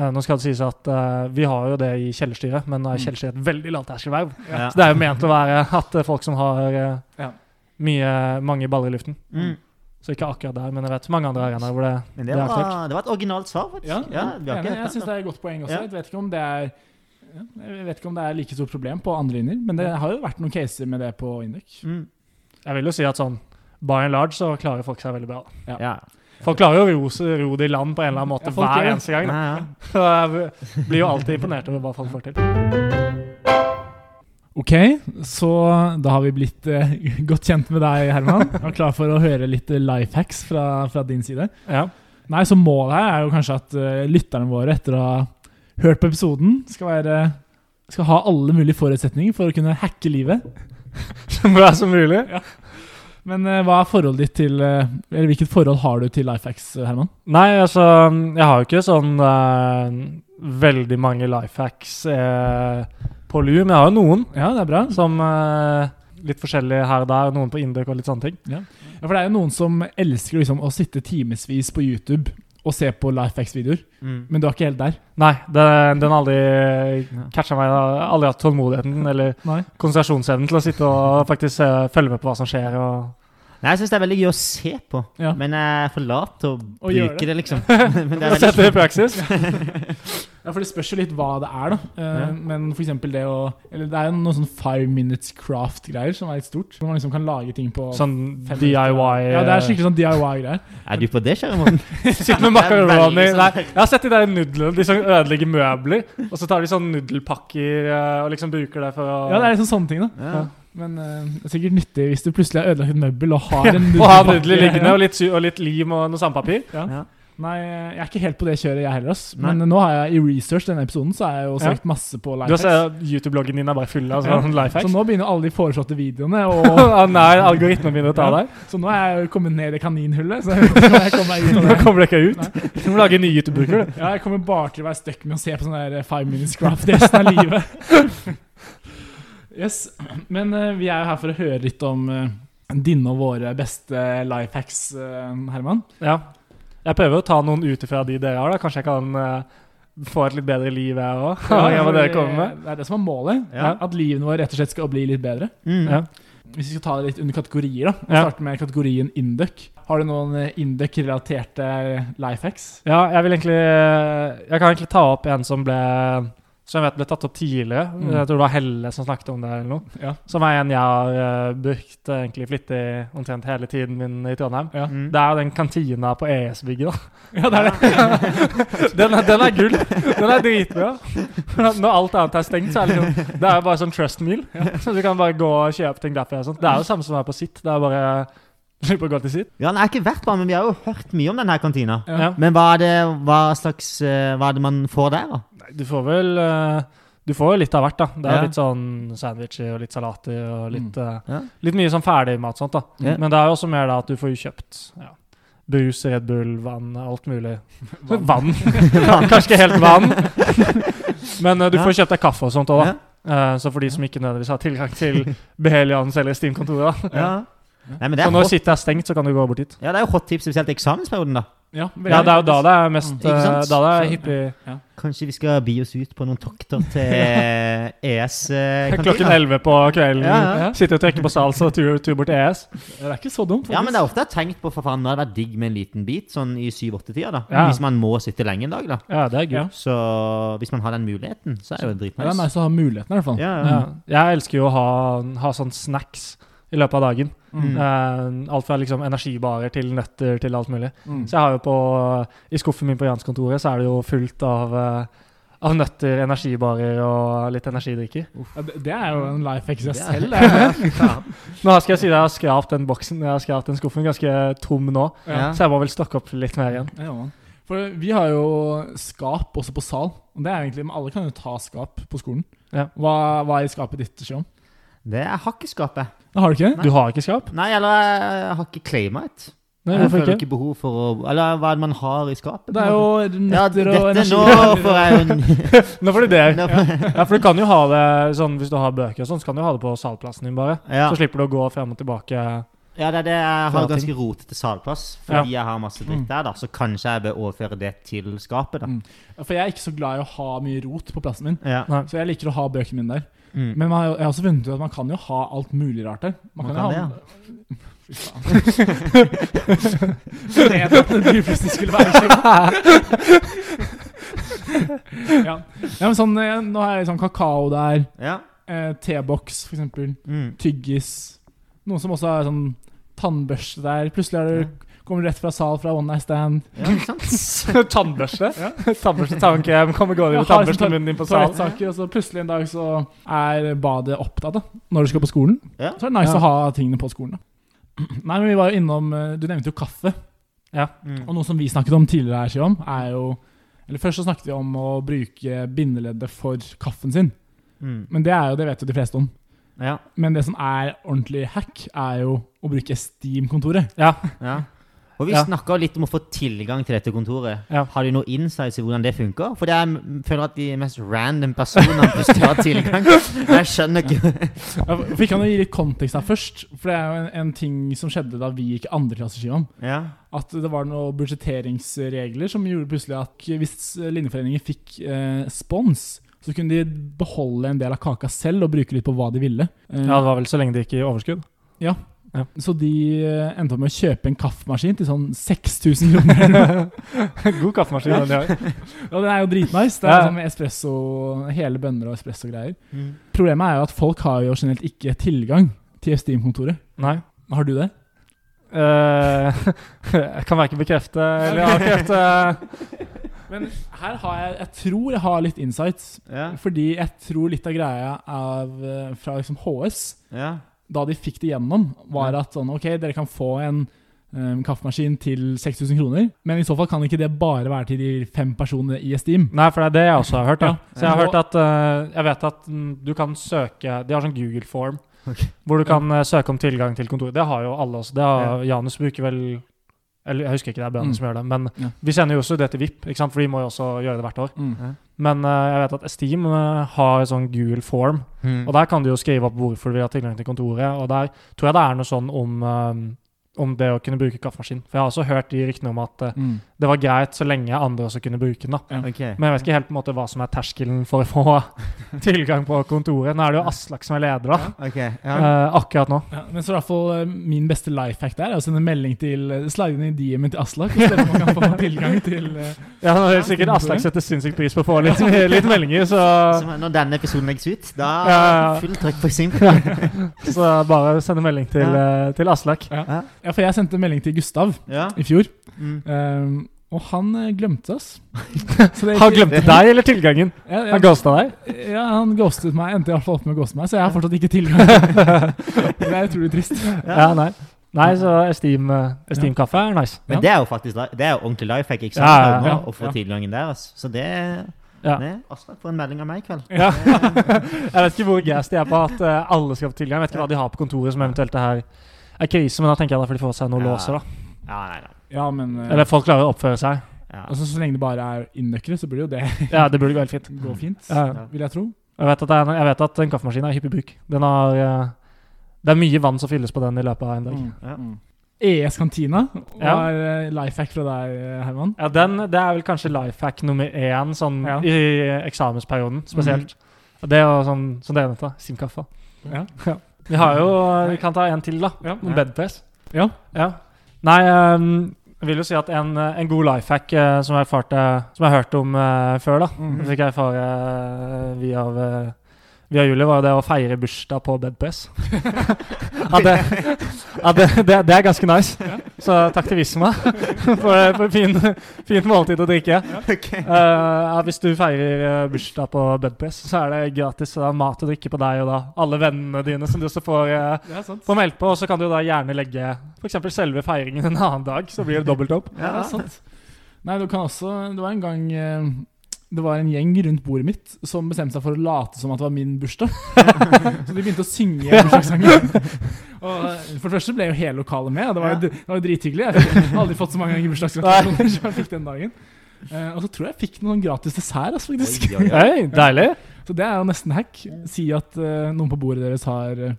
Eh, nå skal det sies at eh, vi har jo det i kjellerstyret, men nå er Mm. kjellerstyret et veldig lavterskelverv. Ja. Så det er jo ment å være at eh, folk som har eh, Ja. mye, mange baller i luften. Mm. Så ikke akkurat der, men jeg vet mange andre arenaer hvor det Men det Det er var, det var et originalt svar, faktisk. Ja, Ja, vi har enig. ikke jeg hørt syns det. det er et godt poeng også. Ja. Jeg vet ikke om det er ja, jeg vet ikke om det er like stort problem på andre linjer, men det har jo vært noen caser med det på Induc. Mm. Jeg vil jo si at sånn by and large så klarer folk seg veldig bra. da. Ja. Folk klarer jo å ro, ro det i land på en eller annen Ja, måte folk gjør hver det. eneste gang. da. Ja, ja. Så jeg blir jo alltid imponert over hva folk får til. Ok, så da har vi blitt eh, godt kjent med deg, Herman. Og klar for å høre litt life hacks fra, fra din side. Ja. Nei, så målet her er jo kanskje at eh, lytterne våre, etter å ha hørt på episoden, skal, være, skal ha alle mulige forutsetninger for å kunne hacke livet. Så bra som mulig. Men eh, hva er forholdet ditt til eh, Eller hvilket forhold har du til life hacks, eh, Herman? Nei, altså Jeg har jo ikke sånn eh, veldig mange life hacks eh, på lur, men jeg har jo noen Ja, det er bra. som eh, Litt forskjellige her og der, noen på Induk og litt sånne ting. Ja, for det er jo noen som elsker liksom, å sitte timevis på YouTube og se på Lifehacks-videoer, Mm. men du er ikke helt der. Nei, den, den har aldri catcha meg. Jeg har aldri hatt tålmodigheten eller Nei. konsentrasjonsevnen til å sitte og faktisk eh, følge med på hva som skjer. og... Nei, jeg syns det er veldig gøy å se på, Ja. men jeg er for lat til å Å gjøre bruke det. liksom. men det er Sett veldig det i praksis. Ja, for det spørs jo litt hva det er, da. Eh, Ja. Men for eksempel det å Eller det er jo noe sånn five minutes craft-greier som er litt stort. Hvor man liksom kan lage ting på Sånn fem DIY minutter. Ja, det er eh. skikkelig sånn DIY-greier. Er du på det, kjære Morten? Sitt eh, med makaroni. sånn- Nei, sånn- jeg har sett de der nudlene, de som ødelegger møbler. Og så tar de sånn nudelpakker eh, og liksom bruker det for å Ja, det er liksom sånne ting, da. Ja. Men eh, det er sikkert nyttig hvis du plutselig har ødelagt et møbel og har Ja, en Og ha nudelpakke. nudler liggende, og litt, sy- og litt lim og noe sandpapir. Ja. Ja. Nei, eh, jeg er ikke helt på det kjøret, jeg heller. ass. Nei. Men eh, nå har jeg i research denne episoden, så har jeg jo Ja. søkt masse på Du har Lifehacks. sett YouTube-bloggen din er bare full av Ja. sånn life Så hacks. nå begynner alle de foreslåtte videoene, og Å nei, algoritmen begynner å ta Ja. deg. så nå er jeg jo kommet ned i kaninhullet. Så jeg vet ikke om jeg kommer meg ut av Nå det. kommer du ikke ut. Du må lage en ny YouTuber. Ja, jeg kommer bare til å være stuck med å se på sånn der eh, Five Minutes Craft resten av livet. Yes, Men eh, vi er jo her for å høre litt om eh, dine og våre beste life hacks, eh, Herman. Ja. Jeg prøver å ta noen ut ifra de dere har. da. Kanskje jeg kan eh, få et litt bedre liv, jeg òg. Hva dere kommer med. Det er det som er målet. Ja. At livene våre rett og slett skal bli litt bedre. Mm. Ja. Hvis vi skal ta det litt under kategorier, da. Vi Ja. starter med kategorien Induc. Har du noen eh, Induc-relaterte life hacks? Ja, jeg vil egentlig eh, Jeg kan egentlig ta opp en som ble Som jeg vet ble tatt opp tidligere. Mm. Jeg tror det var Helle som snakket om det. eller noe Ja. Som er en jeg har eh, brukt eh, egentlig flittig omtrent hele tiden min i Trondheim. Ja. Mm. Det er jo den kantina på ES-bygget, da. Ja, det er det. Den er, den er gull! Den er dritbra. Når alt annet er stengt, så er det liksom Det er jo bare sånn trust meal. Så du kan bare gå og kjøpe ting derfra. og sånt. Det er jo det samme som er på sitt. Det er bare Slipper å gå til sitt. Ja, nei, jeg har ikke vært på den, men vi har jo hørt mye om denne kantina. Ja. Ja. Men hva er det, hva slags, eh, hva er det man får der, da? Nei, du får vel eh, Du får jo litt av hvert, da. Det er Ja. Mm. litt sånn sandwicher og litt salater og litt, eh, Ja. litt mye sånn ferdigmat sånt, da. Ja. Men det er jo også mer da at du får jo kjøpt ja. Brus, Red Bull, vann, alt mulig. Vann. Kanskje ikke helt vann, men eh, du Ja. får kjøpt deg kaffe og sånt òg, da. Ja. Eh, så for de som ikke nødvendigvis har tilgang til Behelians eller Steam-kontoret. da. Ja. Nei, men det Så er, når hot, City er stengt, så kan du gå bort dit. ja, det er jo hot tips, spesielt i eksamensperioden, da. Ja, Ja, det er jo da det er mest altså. Mm. Ikke eh, sant? Da det er Så- hippie Kanskje vi skal bi oss ut på noen tokter til E eh, Klokken ES-kantina? 11 på kvelden. Ja, ja. Sitter og trekker på salsa og tur, tur bort til E ES. Det er ikke så dumt, faktisk. Ja, men det er ofte jeg har tenkt på, for faen, det hadde vært digg med en liten bit, sånn i 7-8-tida, da. Ja. Hvis man må sitte lenge en dag, da. Ja, det er gøy. Ja. Så hvis man har den muligheten, så er det Ja, det er jo sånn. dritnice. nice å ha muligheten, i hvert fall. Ja, ja. Ja. Jeg elsker jo å ha, ha sånn snacks i løpet av dagen. Mm. Eh, alt fra liksom energibarer til nøtter til alt mulig. Mm. Så jeg har jo på, I skuffen min på Janskontoret så er det jo fullt av, eh, av nøtter, energibarer og litt energidrikker. Ja, det- det er jo en life hack i seg Det er- selv. det er det. Nå skal jeg si at jeg har skrapt den boksen jeg har skrapt den skuffen ganske tom nå, Ja. så jeg må vel stokke opp litt mer igjen. Ja, man. For vi har jo skap også på sal. Og det er egentlig, men Alle kan jo ta skap på skolen. Ja. Hva, hva er i skapet ditt, Sjøen? Det er hakkeskapet. Det har du ikke? Du har ikke skrap? Nei, eller jeg har ikke claima et. Nei, jeg hvorfor føler ikke? ikke behov for å Eller hva er det man har i skapet? Det er jo ja, nøtter og dette energi. nå får jeg jo en Nå får du det. nå Ja, får- for du kan jo ha det sånn hvis du har bøker og sånn, så kan du ha det på salplassen din bare. ja. Så slipper du å gå frem og tilbake. ja, det er det jeg har Flere ting. ganske rotete salplass. Fordi jeg har masse dritt der, da. Så kanskje jeg bør overføre det til skapet, da. Mm. For jeg er ikke så glad i å ha mye rot på plassen min. Ja. Nei. Så jeg liker å ha bøkene mine der. Mm. Men man, har jo- jeg har også funnet ut at man kan jo ha alt mulig rart der. Man, Man kan, kan jo ha Fy faen. Det er at det plutselig skulle være skjønt. ja. ja, men sånn, eh, Nå har jeg liksom kakao der, Ja. eh, T-boks for eksempel, Mm. tyggis Noen som også har sånn tannbørste der. Plutselig er det, kommer du rett fra sal fra One Night Stand. ja, ikke sant? Tannbørste? Tannbørste, tannkrem, kommer gående med Jeg har tannbørste i sånn munnen din på sal. Toalettsaker, og så plutselig en dag så er badet opptatt da, når du skal på skolen. Ja. Så er det nice Ja. å ha tingene på skolen. da. Nei, men vi var jo innom, eh, Du nevnte jo kaffe. Mm. Og noe som vi snakket om tidligere her, Shivam, er jo eller Først så snakket vi om å bruke bindeleddet for kaffen sin. Mm. Men det er jo, det vet jo de fleste om. Ja. Men det som er ordentlig hack, er jo å bruke Steam-kontoret. Ja. Ja. Og vi Ja. snakket litt om å få tilgang til dette kontoret. Ja. Har de noe insights i hvordan det funker? For jeg m- føler at de mest random personene plutselig har tilgang. Jeg skjønner ikke Ja, for- Vi kan jo gi litt kontekst her først. For det er jo en, en ting som skjedde da vi gikk andre klasse, Shivam. Ja. At det var noen budsjetteringsregler som gjorde plutselig at hvis linjeforeninger fikk eh, spons, så kunne de beholde en del av kaka selv og bruke litt på hva de ville. Eh, ja, det var vel så lenge det gikk i overskudd. Så de eh, endte opp med å kjøpe en kaffemaskin til sånn 6000 kroner. God kaffemaskin. den de har. Og den er jo dritnice. Det er Ja. liksom espresso, hele bønner og espresso og greier. Mm. Problemet er jo at folk har jo generelt ikke tilgang til Steam-kontoret. Nei. Har du det? Eh, jeg kan verken bekrefte eller avkrefte Men her har jeg Jeg tror jeg har litt insights. Ja. Fordi jeg tror litt av greia av, eh, fra liksom HS, Ja. da de fikk det gjennom, var at sånn OK, dere kan få en eh, kaffemaskin til 6000 kroner, men i så fall kan ikke det bare være til de fem personene i Steam. Nei, for det er det jeg også har hørt. Da. Ja. Så jeg har hørt at eh, Jeg vet at mm, du kan søke De har sånn Google-form hvor du kan eh, søke om tilgang til kontoret. Det har jo alle også. Det har Janus bruker vel Eller jeg husker ikke det er Bøhn Mm. som gjør det, men Ja. vi sender jo også det til VIP, ikke sant? for de må jo også gjøre det hvert år. Mm. Men eh, jeg vet at Steam eh, har sånn Google Form, Mm. og der kan du jo skrive opp hvorfor du vil ha tilgang til kontoret. Og der tror jeg det er noe sånn om, eh, om det å kunne bruke kaffemaskin. For jeg har også hørt de ryktene om at eh, Mm. det var greit så lenge andre også kunne bruke den. da. Ok. Men jeg vet ikke helt på en måte hva som er terskelen for å få tilgang på kontoret. Nå er det jo Aslak som er leder, da. Ok. Ja. eh, akkurat nå. Ja, men så i hvert fall eh, Min beste life hack der er å sende melding til eh, slide inn ideen min til Aslak. og se om han kan få tilgang til eh, Ja, nå er det sikkert Aslak setter sinnssykt pris på å få litt, litt meldinger, så, Så når denne episoden legges ut, da Ja, ja, ja. full trøkk på Simple. så bare send en melding til, eh, til Aslak. Ja, for jeg sendte melding til Gustav Ja. i fjor, Mm. ehm, og han eh, glemte oss. Så det- Har glemt deg eller tilgangen? Ja, ja, Har ghosta deg? ja, han ghostet meg. Endte i hvert fall opp med å ghoste meg, så jeg har fortsatt ikke tilgang. det er utrolig trist. Ja, nei. Nei, så Esteem, eh, Esteem kaffe er nice. Men Ja. det er jo faktisk li- Det er jo ordentlig life hack, ikke sant? Ja, ja, Nå, ja. Å få Ja. tilgangen der, altså. Så det Ja. det- Aslak får en melding av meg i kveld. Ja. Jeg vet ikke hvor gass de er på at eh, alle skal få tilgang. Jeg vet ikke hva de har på kontoret som eventuelt det her er krise, men da tenker jeg derfor de får seg noen Ja. låser, da. Ja, nei, nei. Ja, men eh, Eller folk klarer å oppføre seg. Ja. altså, Så lenge det bare er innøkkere, så burde jo det Ja, det burde gå helt fint. gå fint, Ja. Ja. vil jeg tro. Jeg vet at, det er, en- jeg vet at en kaffemaskin er hyppig i bruk. Den har eh, Det er mye vann som fylles på den i løpet av en dag. Mm. Ja. Mm. ES Kantina Ja. var life hack fra deg, eh, Herman. Ja, den, Det er vel kanskje life hack nummer én sånn, Ja. i eksamensperioden spesielt. Og Det er jo sånn som dere nevnte, simkaffe. Ja. Vi har jo, vi kan ta en til, da. Ja. Om bedpress. Ja. Ja. Nei, ehm, jeg vil jo si at en, en god life hack eh, som, jeg erfarte, som jeg hørte om eh, før, da, Mhm. fikk jeg erfare eh, via, eh, via Julie, var jo det å feire bursdag på bedpress. ja, det, ja, det, det, det er ganske nice. Så takk til Visma for, for fin, fint måltid å drikke. Eh, ja, hvis du feirer eh, bursdag på bedpress, så er det gratis eh, mat og drikke på deg og da alle vennene dine som du også får eh, Det er sant. få meldt på, og så kan du da gjerne legge f.eks. selve feiringen en annen dag, så blir det dobbelt opp. Ja, det er sant. Nei, du kan også Det var en gang eh, det var en gjeng rundt bordet mitt som bestemte seg for å late som at det var min bursdag. så de begynte å synge bursdagssanger. Og eh, for det første ble jo hele lokalet med, og det var jo det var jo drithyggelig. Jeg fikk aldri fått så mange ganger bursdagsgratulasjoner som jeg fikk den dagen. Eh, og så tror jeg jeg fikk noen gratis dessert, altså, faktisk. Oi, oi, oi. Hei, deilig. Så det er jo nesten hack. Si at eh, noen på bordet deres har, eh,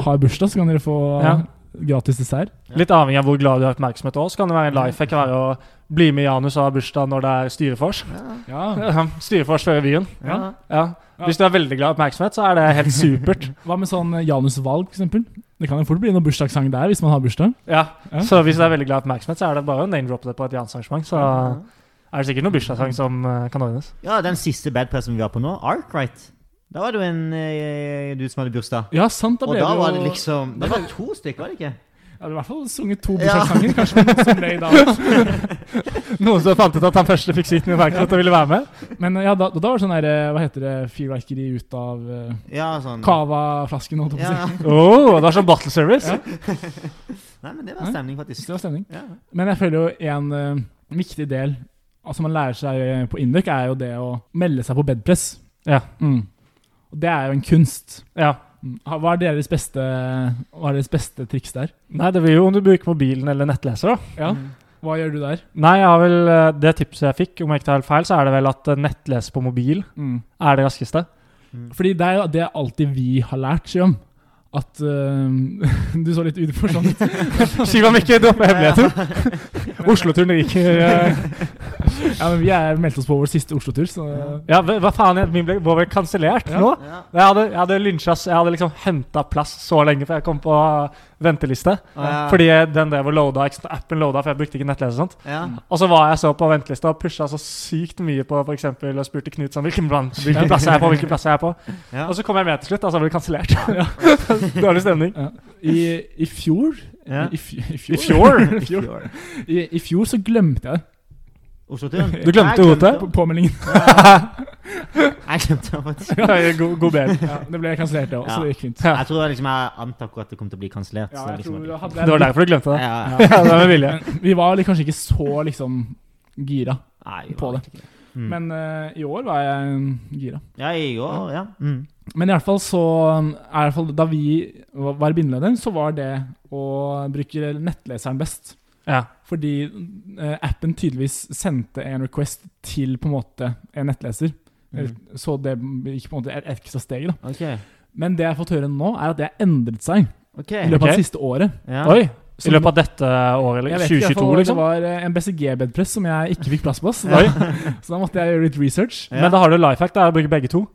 har bursdag, så kan dere få Ja. gratis dessert. Litt avhengig av hvor glad du er i oppmerksomhet òg, så kan det være en life hack å være å bli med Janus og ha bursdag når det er styrefors. Ja. Eh, Styrefors før revyen. Ja. Ja. Hvis du er veldig glad i oppmerksomhet, så er det helt supert. Hva med sånn eh, Janus-valg, f.eks.? Det kan jo fort bli noen bursdagssang der, hvis man har bursdag. Ja. Ja. Så hvis du er veldig glad i oppmerksomhet, så er det bare å name-droppe det på et Jans-arrangement. Så er det sikkert noen bursdagssang som eh, kan ordnes. Ja, den siste bedpressen vi var på nå, Arkwright. Da var det jo en eh, du som hadde bursdag. Ja, sant, da Og ble da det jo var det liksom Det var to stykker, var det ikke? Ja, det var i hvert fall sunget to Ja. bursdagssanger, kanskje noen som ble i dag. Noen som fant ut at han første fikk sykt mye oppmerksomhet og ville være med? Men eh, ja, da, da var det sånn der, eh, hva heter det, fyrverkeri ut av eh, Ja, sånn Cava-flasken, holdt jeg på å Ja. si. Oh, det er sånn battle service. Nei, men det var stemning, Så faktisk. Det var stemning. Ja. Men jeg føler jo en eh, viktig del av som man lærer seg eh, på Induc, er jo det å melde seg på bedpress. Ja. Mm. Og det er jo en kunst. Ja. Mm. Ha- Hva er deres beste, hva er deres beste triks der? Nei, det blir jo om du bruker mobilen eller nettleser, da. Ja. Mm. Hva gjør du der? Nei, jeg har vel eh, det tipset jeg fikk, om jeg ikke tar helt feil, så er det vel at eh, nettleser på mobil Mm. er det raskeste. Mm. Fordi det er jo det er alltid vi har lært, Sjøm. At eh, Du så litt uforstående ut. Skiva meg ikke dumme hemmeligheter! Oslo-turen ryker. eh. Ja, men vi er meldt oss på vår siste Oslo-tur, så eh, Ja, hva hva faen, jeg- min ble, var vel kansellert nå? Ja. Jeg hadde, jeg hadde lynsja s- Jeg hadde liksom henta plass så lenge før jeg kom på eh, venteliste. Ja. Fordi eh, den drev og loada, ikke sant, appen loada, for jeg brukte ikke nettleser. og sånn. sånt Ja. Og så var jeg så på ventelista og pusha så sykt mye på f.eks. og spurte Knut sånn hvilken, plan- hvilken plass er jeg på, hvilken plass er jeg på. Ja. Og så kom jeg med til slutt, og så ble det kansellert. Dårlig stemning. I, i fjor Ja. I, fj- i I fjor? I fjor? fjor. I, I fjor så glemte jeg det. Oslo-turen. Du glemte Jeg OT? På, påmeldingen. Jeg glemte det, faktisk. God, god baby. Ja, det ble kansellert, det òg, så det gikk fint. Jeg tror jeg liksom jeg antok at det kom til å bli kansellert. så Ja, jeg liksom tror at- hadde Det var derfor du glemte det. Ja, ja. Ja, det var med vilje. Men Vi var li- kanskje ikke så liksom gira, Nei, vi På var det. ikke det. Mm. men eh, i år var jeg mm, gira. Ja, i går, ja. Mm. Men i hvert fall så mm, er i hvert fall Da vi var var bindeleder, så var det å bruke nettleseren best. Ja. Fordi eh, appen tydeligvis sendte en request til på en måte en nettleser. Eller, Mm. Så det gikk på en måte et ekstra steg. da. Mm. Ok. Men det jeg har fått høre nå, er at det har endret seg ok. i løpet av Eh, Ok. det siste året. Ja. Oi! Så- I løpet av dette året, Jeg eller vet ikke, i hvert 2022, fall, liksom? Det var eh, en BCG-bedpress som jeg ikke fikk plass på, så da, Oi. så da måtte jeg gjøre litt research. Ja. Men da har du life hack, da er å bruke begge to.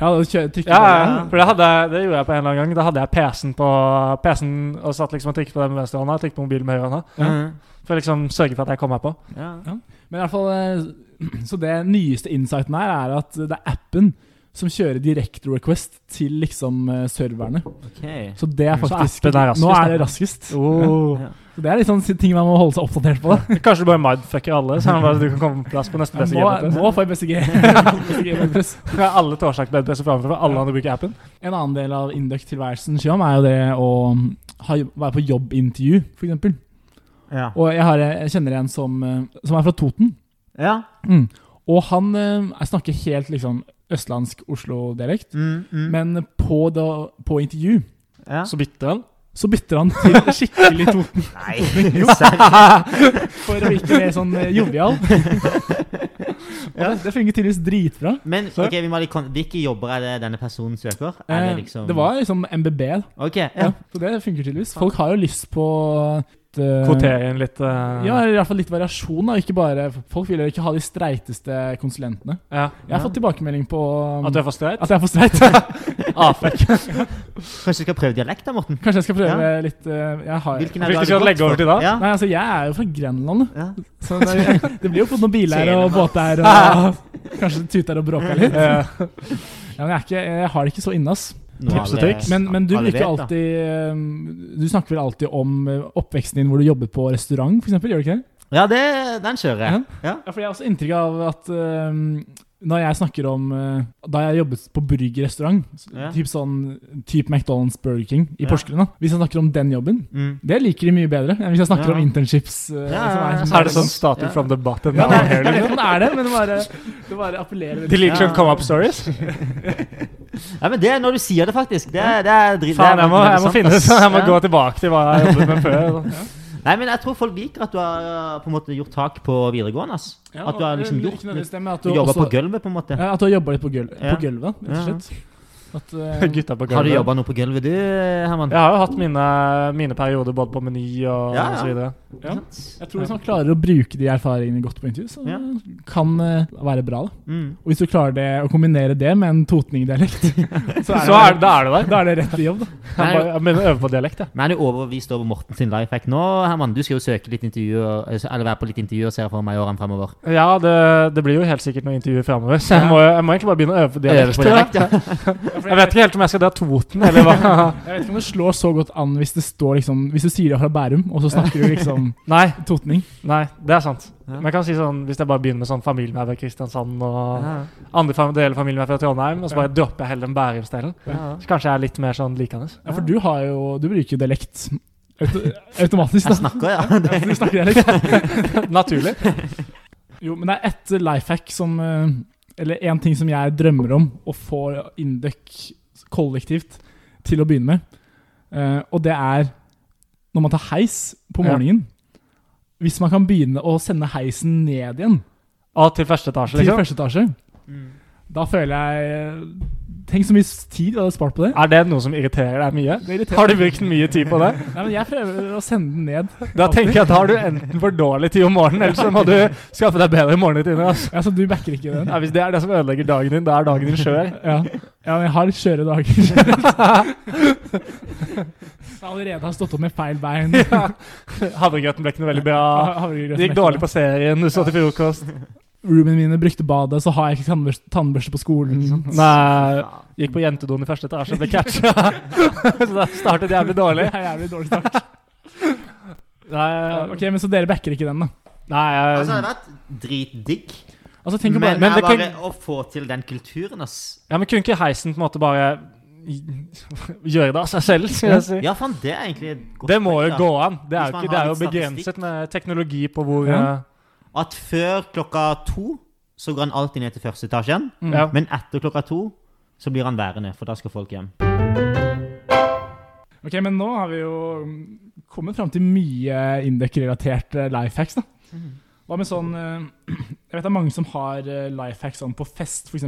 Ja, da kjø- trykket Ja, ja, jeg- ja. for det, hadde, jeg- det gjorde jeg på en eller annen gang. Da hadde jeg PC-en på PC-en og satt liksom og trykket på den med venstrehånda, trykket på mobilen med høyrehånda. Ja. For å liksom sørge for at jeg kom meg på. Ja. Men i hvert fall, eh, så det nyeste insighten her er at det er appen som kjører direkte request til liksom eh, serverne. Ok. Så det er Mm. Så faktisk appen er raskest, Nå er det da. raskest. Oh. Ja. Så det er litt sånn ting man må holde seg oppdatert på. da. Kanskje du bare mindfucker alle, så er det bare at du kan komme på plass på neste Nå, BCG-bedpress. nå får jeg BCG-bedpress. Alle torsdagsbedpresser framfor, for alle andre bruker appen. En annen del av Induct-tilværelsen Shyam, er jo det å mm, ha, være på jobbintervju, f.eks. Ja. Og jeg, har, jeg kjenner en som, eh, som er fra Toten. ja. Mm. Og han eh, jeg snakker helt liksom østlandsk Oslo-dialekt. Mm, mm. Men på, da, på intervju ja. Så bytter den. Så bytter han til skikkelig Toten Nei, serr. for å virke mer sånn eh, jovial. Og det, det fungerer tydeligvis dritbra. Men Så- ok, vi må ha litt kon- hvilke jobber er det denne personen søker? Er Eh, det liksom Det var liksom MBB, da. Ok, Ja. ja. Så det funker tydeligvis. Folk har jo lyst på et, eh, Kvotere inn litt eh, Ja, eller i hvert fall litt variasjon. da, ikke bare, Folk vil jo ikke ha de streiteste konsulentene. ja. Jeg har fått tilbakemelding på um, At du er Ah, for streit? at jeg er for streit. Apek. Kanskje du skal prøve dialekt da, Morten? Kanskje jeg skal prøve litt eh, Jeg har Hvilken Hvilken er det skal du legge over til da? Ja. Nei, altså, jeg er jo fra Grenland. da. Ja. Så det, det blir jo fort noen biler og båter og kanskje tuter og bråker litt. Eh, Ja, men jeg, er ikke, jeg har det ikke så inne, ass. Nå Tips og alle- triks. Men, men du alle bruker vet, da. alltid eh, Du snakker vel alltid om eh, oppveksten din hvor du jobbet på restaurant, f.eks.? Gjør du ikke det? Ja, det, den kjører jeg. Ja. Ja, for jeg har også inntrykk av at øhm, når jeg snakker om øh, Da jeg jobbet på burgerrestaurant, så- Ja. typ sånn typ McDonald's Burger King i Ja. Porsgrunn, da. hvis jeg snakker om den jobben, Mm. det liker de mye bedre enn hvis jeg snakker Ja. om internships. øh, Ja, ja, som ja. er det sånn starting Ja. from the bottom? Ja, down det, jeg here, vet liksom? ikke om det er det, men det bare, det bare appellerer De veldig. liker sånn Ja. come up stories? ja, men det er når du sier det, faktisk. Det, er- det er drit... Faen, jeg må, jeg må finne ut. Jeg må Ja. gå tilbake til hva jeg jobbet med før. Nei, men jeg tror folk liker at du har eh, på en måte gjort tak på videregående. ass. Ja, at du har liksom men gjort ikke nødvendigvis litt det, men at Du du jobber også- på gulvet, på en måte. Ja, At du har jobba litt på, gulv, Ja. på gulvet, da, rett Ja. og slett. At, øh, Gutta på Har du gulvet. jobba noe på gulvet, du, Herman? Jeg har jo hatt mine, mine perioder både på Meny Ja, og, ja. og så videre. ja. Jeg tror hvis man klarer å bruke de erfaringene godt på intervju, så Ja. kan øh, være bra. da Mm. Og hvis du klarer det å kombinere det med en totningdialekt, så Så er, da er du der. da er det rett i jobb, da. Jeg, bare, jeg begynner å øve på dialekt, jeg. Men er du overbevist over Morten sin life hack nå, Herman? Du skal jo søke litt intervjuer, altså, eller være på litt intervjuer, ser jeg for meg, i årene fremover. Ja, det, det blir jo helt sikkert noen intervjuer framover, så jeg må, jeg må egentlig bare begynne å øve på Øve dialekt. på dialekt, ja. Jeg vet ikke helt om jeg skal dra Toten, eller hva. Jeg vet ikke om det slår så godt an hvis det står liksom Hvis du sier det fra Bærum, og så snakker du liksom Nei, totning. nei, det er sant. Ja. Men jeg kan si sånn, hvis jeg bare begynner med sånn familien er fra Kristiansand, og Ja. andre fam deler av familien er fra Trondheim, og så bare dropper jeg heller den bærumsdelen, Ja. så kanskje jeg er litt mer sånn likende. Ja, for du har jo Du bruker jo dialekt auto automatisk, Jeg da. snakker, ja. Det, Du snakker dialekt. Naturlig. Jo, men det er ett life hack som eh, Eller én ting som jeg drømmer om å få Induc kollektivt til å begynne med. Eh, og det er når man tar heis på Ja. morgenen. Hvis man kan begynne å sende heisen ned igjen Og til første etasje, til liksom. første etasje, Mm. da føler jeg eh, Tenk så mye tid jeg hadde spart på det. Er det noe som irriterer deg mye? Det irriterer Har du brukt mye tid på det? Nei, men jeg prøver å sende den ned. Da tenker jeg at da har du enten for dårlig tid om morgenen, eller så må du skaffe deg bedre morgenrutiner. Altså. Ja, Så du backer ikke den? Ja, hvis det er det som ødelegger dagen din, da er dagen din skjør. Ja, ja men jeg har litt skjøre dager. Jeg allerede har stått opp med feil bein. Havregrøten ble ikke noe veldig bra. Havregrøt Det gikk som dårlig ekte. på serien, du så til frokost. Roomene mine brukte badet, så har jeg ikke tannbørste, tannbørste på skolen. Nei, gikk på jentedoen i første etasje og ble catcha. Så da startet jævlig Det dårlig. er jævlig dårlig start. Nei, Ok, men Så dere backer ikke den, da? nei Altså, det jeg- har vært dritdigg. Altså, tenk Men, å bare, men det det er kan- bare å få til den kulturen, ass. ja, men kunne ikke heisen på en måte bare gjøre det av seg selv, skal jeg si? Ja, faen, det er egentlig et godt Det må jo poeng, da. gå an. Det er Hvis jo, man ikke, det har er jo litt begrenset statistikk. med teknologi på hvor Ja. eh, At før klokka to så går han alltid ned til første etasjen. Mm. ja. Men etter klokka to så blir han værende, for da skal folk hjem. Ok, men nå har vi jo mm, kommet fram til mye Indec-relaterte life hacks. da. Mhm. Hva med sånn eh, Jeg vet det er mange som har life hacks sånn på fest, f.eks.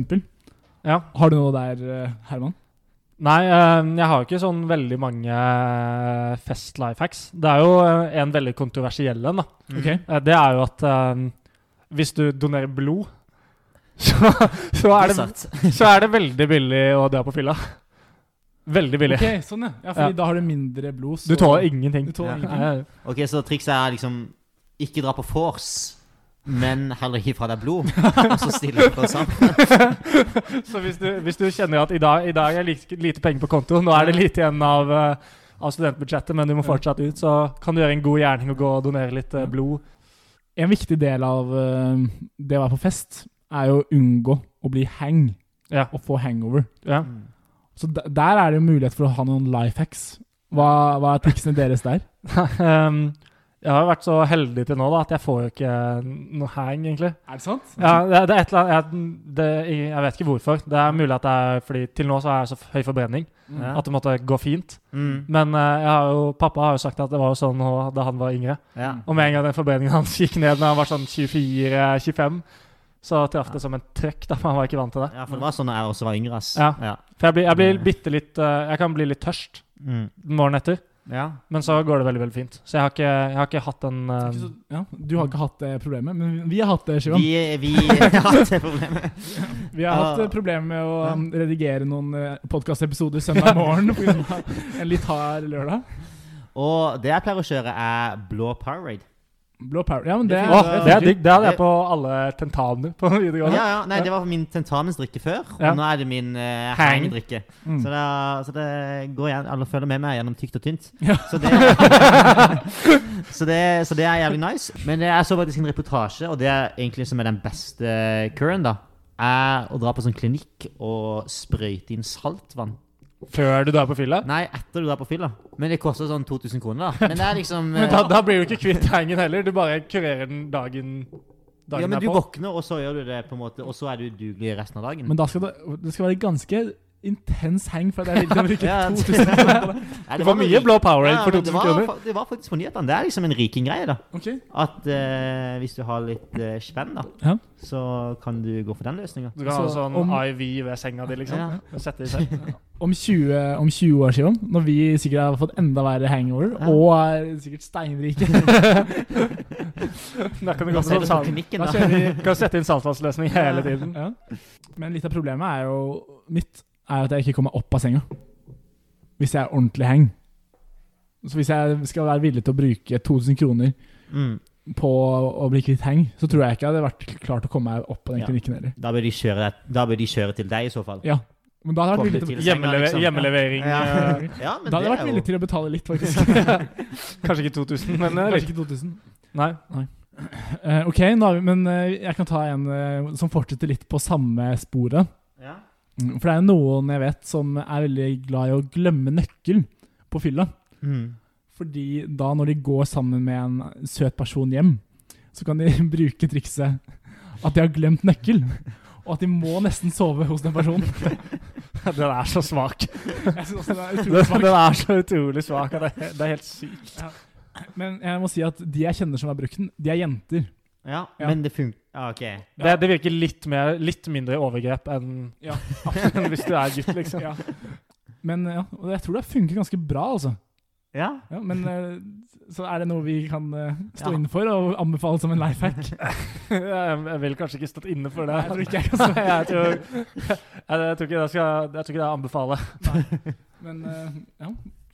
Ja. Har du noe der, eh, Herman? Nei, eh, jeg har jo ikke sånn veldig mange fest-lifehacks. Det er jo eh, en veldig kontroversiell en, da. Ok. Eh, Det er jo at eh, hvis du donerer blod, så, så, er det, Satt. så er det veldig billig å dra på fylla. Veldig billig. Ok, sånn, ja. ja fordi Ja. da har du mindre blod, så Du tåler ingenting. Du tåler Ja. ingenting. Nei, Ok, så trikset er liksom ikke dra på force, men heller gi fra deg blod, og så stille på sammen. Så hvis du, hvis du kjenner at i dag, i dag er lite, lite penger på konto, nå er det lite igjen av, eh, av studentbudsjettet, men du må fortsatt ut, så kan du gjøre en god gjerning og gå og donere litt eh, blod. En viktig del av eh, det å være på fest, er jo å unngå å bli hang Ja. og få hangover. Ja. Så d der er det jo mulighet for å ha noen life hacks. Hva, hva er triksene deres der? Um, Jeg har jo vært så heldig til nå da, at jeg får jo ikke noe hang, egentlig. Er det sant? Ja, det, det er et eller annet, jeg, det, jeg vet ikke hvorfor. Det er mulig at det er fordi til nå så har jeg så høy forbrenning Mm. Ja. at det måtte gå fint. Mm. Men eh, jeg har jo, pappa har jo sagt at det var jo sånn nå, da han var yngre. Ja. Og med en gang den forbrenningen hans gikk ned når han var sånn 24-25, så traff det som en trøkk. da, for Han var ikke vant til det. ja, for det var sånn da jeg også var yngre, ass. Ja. Ja. For jeg blir, jeg blir bitte litt eh, Jeg kan bli litt tørst Mm. morgenen etter, ja. men så går det veldig veldig fint. Så jeg har ikke, jeg har ikke hatt den Det er eh, ikke så- ja. Du har ikke hatt det problemet, men vi har hatt det, Shivan. Vi, vi ja, det er problemet. Vi har hatt Ja. eh, problemer med å um, redigere noen podkastepisoder søndag morgen på grunn av en litt hard lørdag. Og det jeg pleier å kjøre, er blå Powerade. Blå power. Ja, men det, Det eh, Åh, Ja, det er du- digg. Det hadde jeg det- på alle tentamener på Ja, videregående. ja, nei, Det var min tentamensdrikke før, og Ja. nå er det min eh, Hang. hang-drikke. Mm. Så, det- så det går igjen, alle følger med meg gjennom tykt og tynt. Ja. Så, det, så, det, så det er jævlig nice. Men jeg så faktisk en reportasje, og det er egentlig som er den beste curen, da, er å dra på sånn klinikk og sprøyte inn saltvann. Før du drar på fylla. Nei, etter du drar på fylla. Men det koster sånn 2000 kroner, da. Men det er liksom eh, Men da, da blir du ikke kvitt hangen heller. Du bare kurerer den dagen, dagen Ja, men du derpå. våkner, og så gjør du det, på en måte, og så er du udugelig resten av dagen. men da skal det, det skal være ganske intens hang for at jeg er villig til å bruke Ja, 2000 kroner på det. Nei, Det var noe mye rik- blå Powerade Ja, for men det 2000 var kroner. fa- Det var faktisk på nyhetene. Det er liksom en rikinggreie, da. Ok. At eh, hvis du har litt eh, spenn, da, Ja. så kan du gå for den løsninga. Du kan ha Så sånn om- IV ved senga di, liksom. Ja. Og Sette i seg. Om 20, om 20 år, Shivan, når vi sikkert har fått enda verre hangover, Ja. og er sikkert steinrike Da kan du Da gå ser du for på salt. klinikken, Da da. kjører vi- kan sette inn saltvannsløsning hele tiden. Ja. Men litt av problemet er jo mitt er at jeg ikke kommer meg opp av senga. Hvis jeg er ordentlig hang. Så hvis jeg skal være villig til å bruke 1000 kroner Mm. på å bli kvitt hang, så tror jeg ikke jeg hadde vært klart å komme meg opp på den Ja. klinikken heller. Da bør, de kjøre deg, da bør de kjøre til deg, i så fall. Ja. Men da hadde jeg vært villig til, Til senga, Hjemmelever liksom. hjemmelevering Ja. eh, Ja, men da hadde jeg det vært er villig jo til å betale litt, faktisk. Kanskje ikke 2000, men eh, Kanskje litt. ikke 2000. Nei. Eh, ok, nå har vi, men eh, jeg kan ta en eh, som fortsetter litt på samme sporet. ja. Mm, For det er jo noen jeg vet som er veldig glad i å glemme nøkkelen på fylla. mm. Fordi da når de går sammen med en søt person hjem, så kan de bruke trikset at de har glemt nøkkel. Og at de må nesten sove hos den personen. Den er så svak. Jeg synes også det er Den utrolig svakt. er så utrolig svak. at Det det er helt sykt. Men jeg må si at de jeg kjenner som har brukt den, de er jenter. ja, Ja. men det funker. Ah, ok. Det, det virker litt, mer, litt mindre overgrep enn Ja. enn hvis du er gutt, liksom. Ja. Men ja, og jeg tror det har funket ganske bra, altså. Ja. Ja, men eh, så er det noe vi kan eh, stå Ja. inne for og anbefale som en life hack? Jeg jeg vil kanskje ikke stått inne for det. Nei, jeg tror ikke jeg kan jeg, tror, jeg, jeg tror ikke det skal, jeg tror ikke det er å anbefale. Men eh, ja,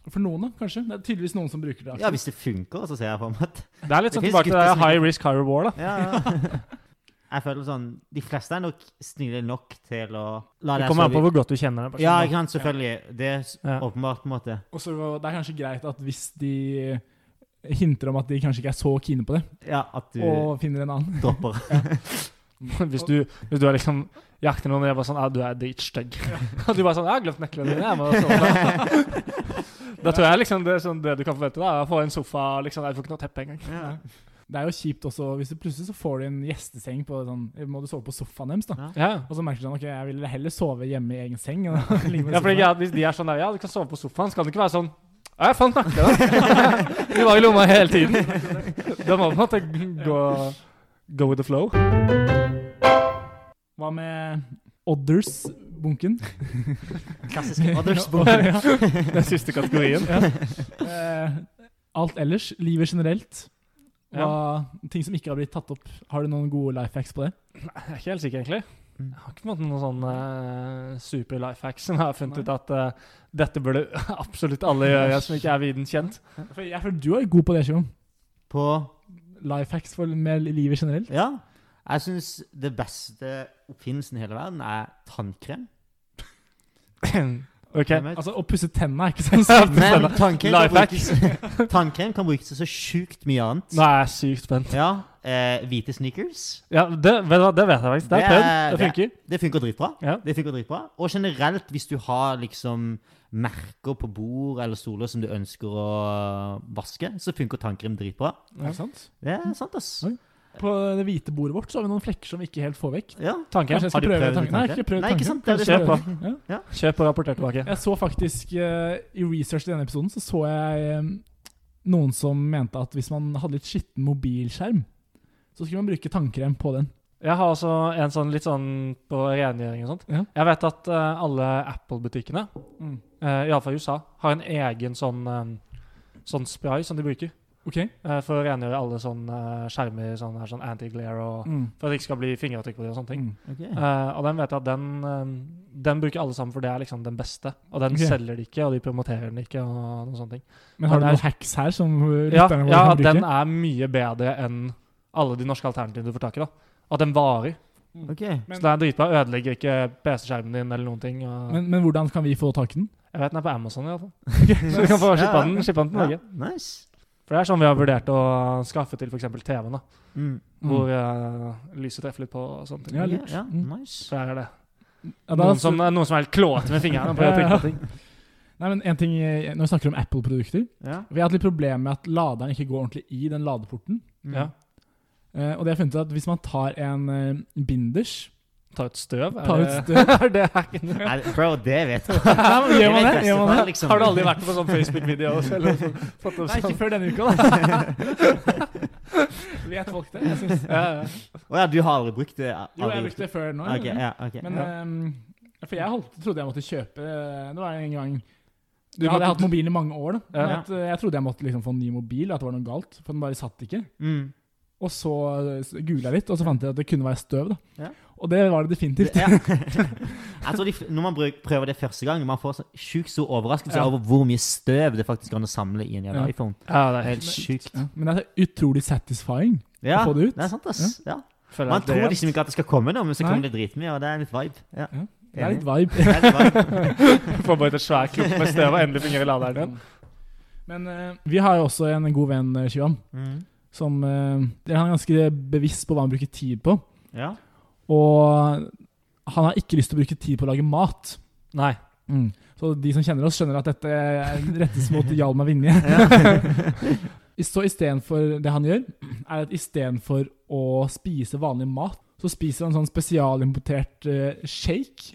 for noen da, kanskje. Det er tydeligvis noen som bruker det. altså. ja, hvis det funker, så ser jeg for meg at Det er litt Det sånn finnes tilbake til det gutter der som ikke- high risk, high reward. da. ja, ja. Jeg føler sånn De fleste er nok snille nok til å la Det deg kommer an på sove. hvor godt du kjenner den Ja, personen. ikke sant, selvfølgelig. Det er s- Ja. åpenbart, på en måte. Og så Det er kanskje greit at hvis de hinter om at de kanskje ikke er så kine på det, Ja, at du og finner en annen dropper. Hvis du, hvis du er liksom jakter noen og jeg bare sånn «Ah, Du er dritstygg. Og du bare sånn 'Jeg har glemt nøklene dine.' Jeg må sove. Da tror jeg liksom det, er sånn, det du kan forvente, da, er å få en sofa liksom, Jeg får ikke noe teppe engang. Ja. Det er jo kjipt også hvis du plutselig så får du en gjesteseng på sånn Må du sove på sofaen deres, da? Ja. Ja. Og så merker du sånn Ok, jeg ville heller sove hjemme i egen seng. enn å ligge med Ja, fordi sofaen. jeg, Hvis de er sånn der, ja, du kan sove på sofaen, så kan det ikke være sånn Ja, jeg fant nøkkelen. De var i lomma hele tiden. Da må man på en måte gå, go with the flow. Hva med Odders-bunken? Klassisk Ja, Others-bok. ja. Den siste kategorien. Eh, alt ellers, livet generelt. Hva, Ting som ikke har blitt tatt opp. Har du noen gode life hacks på det? Jeg er ikke helt sikker, egentlig. Jeg har ikke på en måte noen sånn eh, super life hack som jeg har funnet Nei. ut at eh, dette burde absolutt alle gjøre som ikke er viden kjent. For jeg føler du er god på det, Sjøen. På Life hacks for, med livet generelt. Ja. Jeg syns det beste oppfinnelsen i hele verden er tannkrem. OK, Ok. Hvem vet? Altså, å pusse tenna er ikke sånn sykt. Men tannkrem kan, Life hack. brukes, tannkrem kan brukes til så sjukt mye annet. Nå er jeg sykt spent. Ja, eh, Hvite sneakers. Ja, det vet, du hva, det vet jeg faktisk. Det er Det er- prøvd. Det funker. Det funker dritbra. Ja. Det funker dritbra. Og generelt, hvis du har liksom merker på bord eller stoler som du ønsker å vaske, så funker tannkrem dritbra. Er det sant? Det er sant, ass. Mm. Oi. På det hvite bordet vårt så har vi noen flekker som vi ikke helt får vekk. Ja. Tanken. Kanskje jeg Har skal du prøve prøvd tanken? Nei, jeg har tanken? ikke prøvd Nei, ikke tanken. sant? Det er det Kanskje jeg som er- prøver. Ja. Kjøp og rapporter tilbake. Jeg så faktisk eh, I research til denne episoden så så jeg eh, noen som mente at hvis man hadde litt skitten mobilskjerm, så skulle man bruke tannkrem på den. Jeg har også en sånn litt sånn på rengjøring og sånt. Ja. Jeg vet at eh, alle Apple-butikkene, Mm. eh, i alle fall i USA, har en egen sånn, eh, sånn spray som de bruker Ok? eh, for å rengjøre alle sånne eh, skjermer, sånn, her, sånn anti-glare og Mm. for at det ikke skal bli fingeravtrykk på det og sånne ting. Mm. Ok. Eh, og den vet jeg at den, eh, den bruker alle sammen, for det er liksom den beste. Og den Ok. selger de ikke, og de promoterer den ikke, og noen sånne ting. Men har du Ja, det noen hacks her som uh, Ja, lytterne våre ja kan at bruke? den er mye bedre enn alle de norske alternativene du får tak i. da. At den varer. Ok. Så det er dritbra. Ødelegger ikke PC-skjermen din eller noen ting. Og Men, men hvordan kan vi få tak i den? jeg vet den er på Amazon i alle fall. Så du kan få shippa den, shippa den til Ja, Norge. nice. For det er sånn vi har vurdert å skaffe til f.eks. TV-en, da. Mm. Hvor eh, lyset treffer litt på og sånne ting. Ja, Ja, lurt. ja, Mm. nice. Så er det Ja, da- noen som, noen som er helt klåte med fingrene på å Ja, ja. trykke på ting. Nei, men en ting, eh, Når vi snakker om Apple-produkter Ja. Vi har hatt litt problemer med at laderen ikke går ordentlig i den ladeporten. Mm. Ja. Eh, og det har jeg funnet ut at Hvis man tar en eh, binders Ta ut støv? er tar ut det- støv, er det hacken? Nei, bro, det vet jeg. Nei, men Gjør man det? Gjør man det? Liksom. Har du aldri vært på sånn Facebook-video? Eller sånn, fått opp Nei, ikke sånn? før denne uka, da. Vet folk det? Jeg syns Ja, ja. Å ja, du har aldri brukt det? Jo, jeg brukte det før nå. Ok, ja, ok. Men eh, For jeg holdt, trodde jeg måtte kjøpe eh, Det var en gang Du Jeg hadde måtte- hatt mobilen i mange år. Da. Ja. At, eh, jeg trodde jeg måtte liksom få en ny mobil, at det var noe galt. For den bare satt ikke. Mm. Og så eh, googla jeg litt, og så fant jeg at det kunne være støv. Da. Ja. Og det var det definitivt. Ja. Jeg tror de, f- Når man bruk- prøver det første gang, man får så sjukt stor overraskelse Ja. over hvor mye støv det faktisk kan å samle i en jævla Ja. iPhone. Ja, det Det er er helt helt sjukt. Men det er utrolig satisfying. Ja, Få det ut. det er sant, ass. Ja. føler Man jeg tror det- liksom ikke at det skal komme noe, men så Nei. kommer det dritmye, og det er litt vibe. Ja. Ja, Det er litt vibe. Det er litt vibe. Får bare et svært klump med støv og endelig fingre i laderen igjen. Men eh, vi har jo også en god venn, eh, Shivam, Mm. som eh, Han er ganske bevisst på hva han bruker tid på. Ja. Og han har ikke lyst til å bruke tid på å lage mat. Nei. Så de som kjenner oss, skjønner at dette er- rettes mot Hjalmar Vinje. Så istedenfor det han gjør, er at istedenfor å spise vanlig mat, så spiser han sånn spesialimportert eh, shake.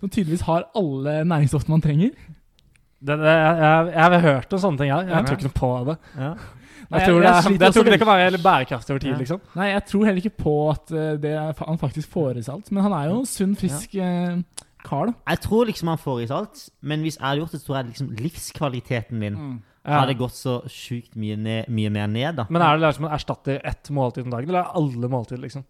Som tydeligvis har alle næringsstoffene man trenger. Det, det, jeg, jeg, jeg har hørt om sånne ting her. Ja. Jeg tror ikke noe på det. Ja. Nei, Jeg tror jeg- det, jeg er- sliter jeg også tror ikke det kan være helt bærekraftig over tid, Ja. liksom. Nei, jeg tror heller ikke på at eh, det er fa- han faktisk får i seg alt. Men han er jo en sunn, frisk eh, kar, da. Jeg tror liksom man får i seg alt, men hvis jeg hadde gjort det, så tror jeg liksom livskvaliteten min Ja. hadde gått så sjukt mye, ned, mye mer ned, da. Men er det liksom man erstatter ett måltid om dagen, eller er alle måltid, liksom?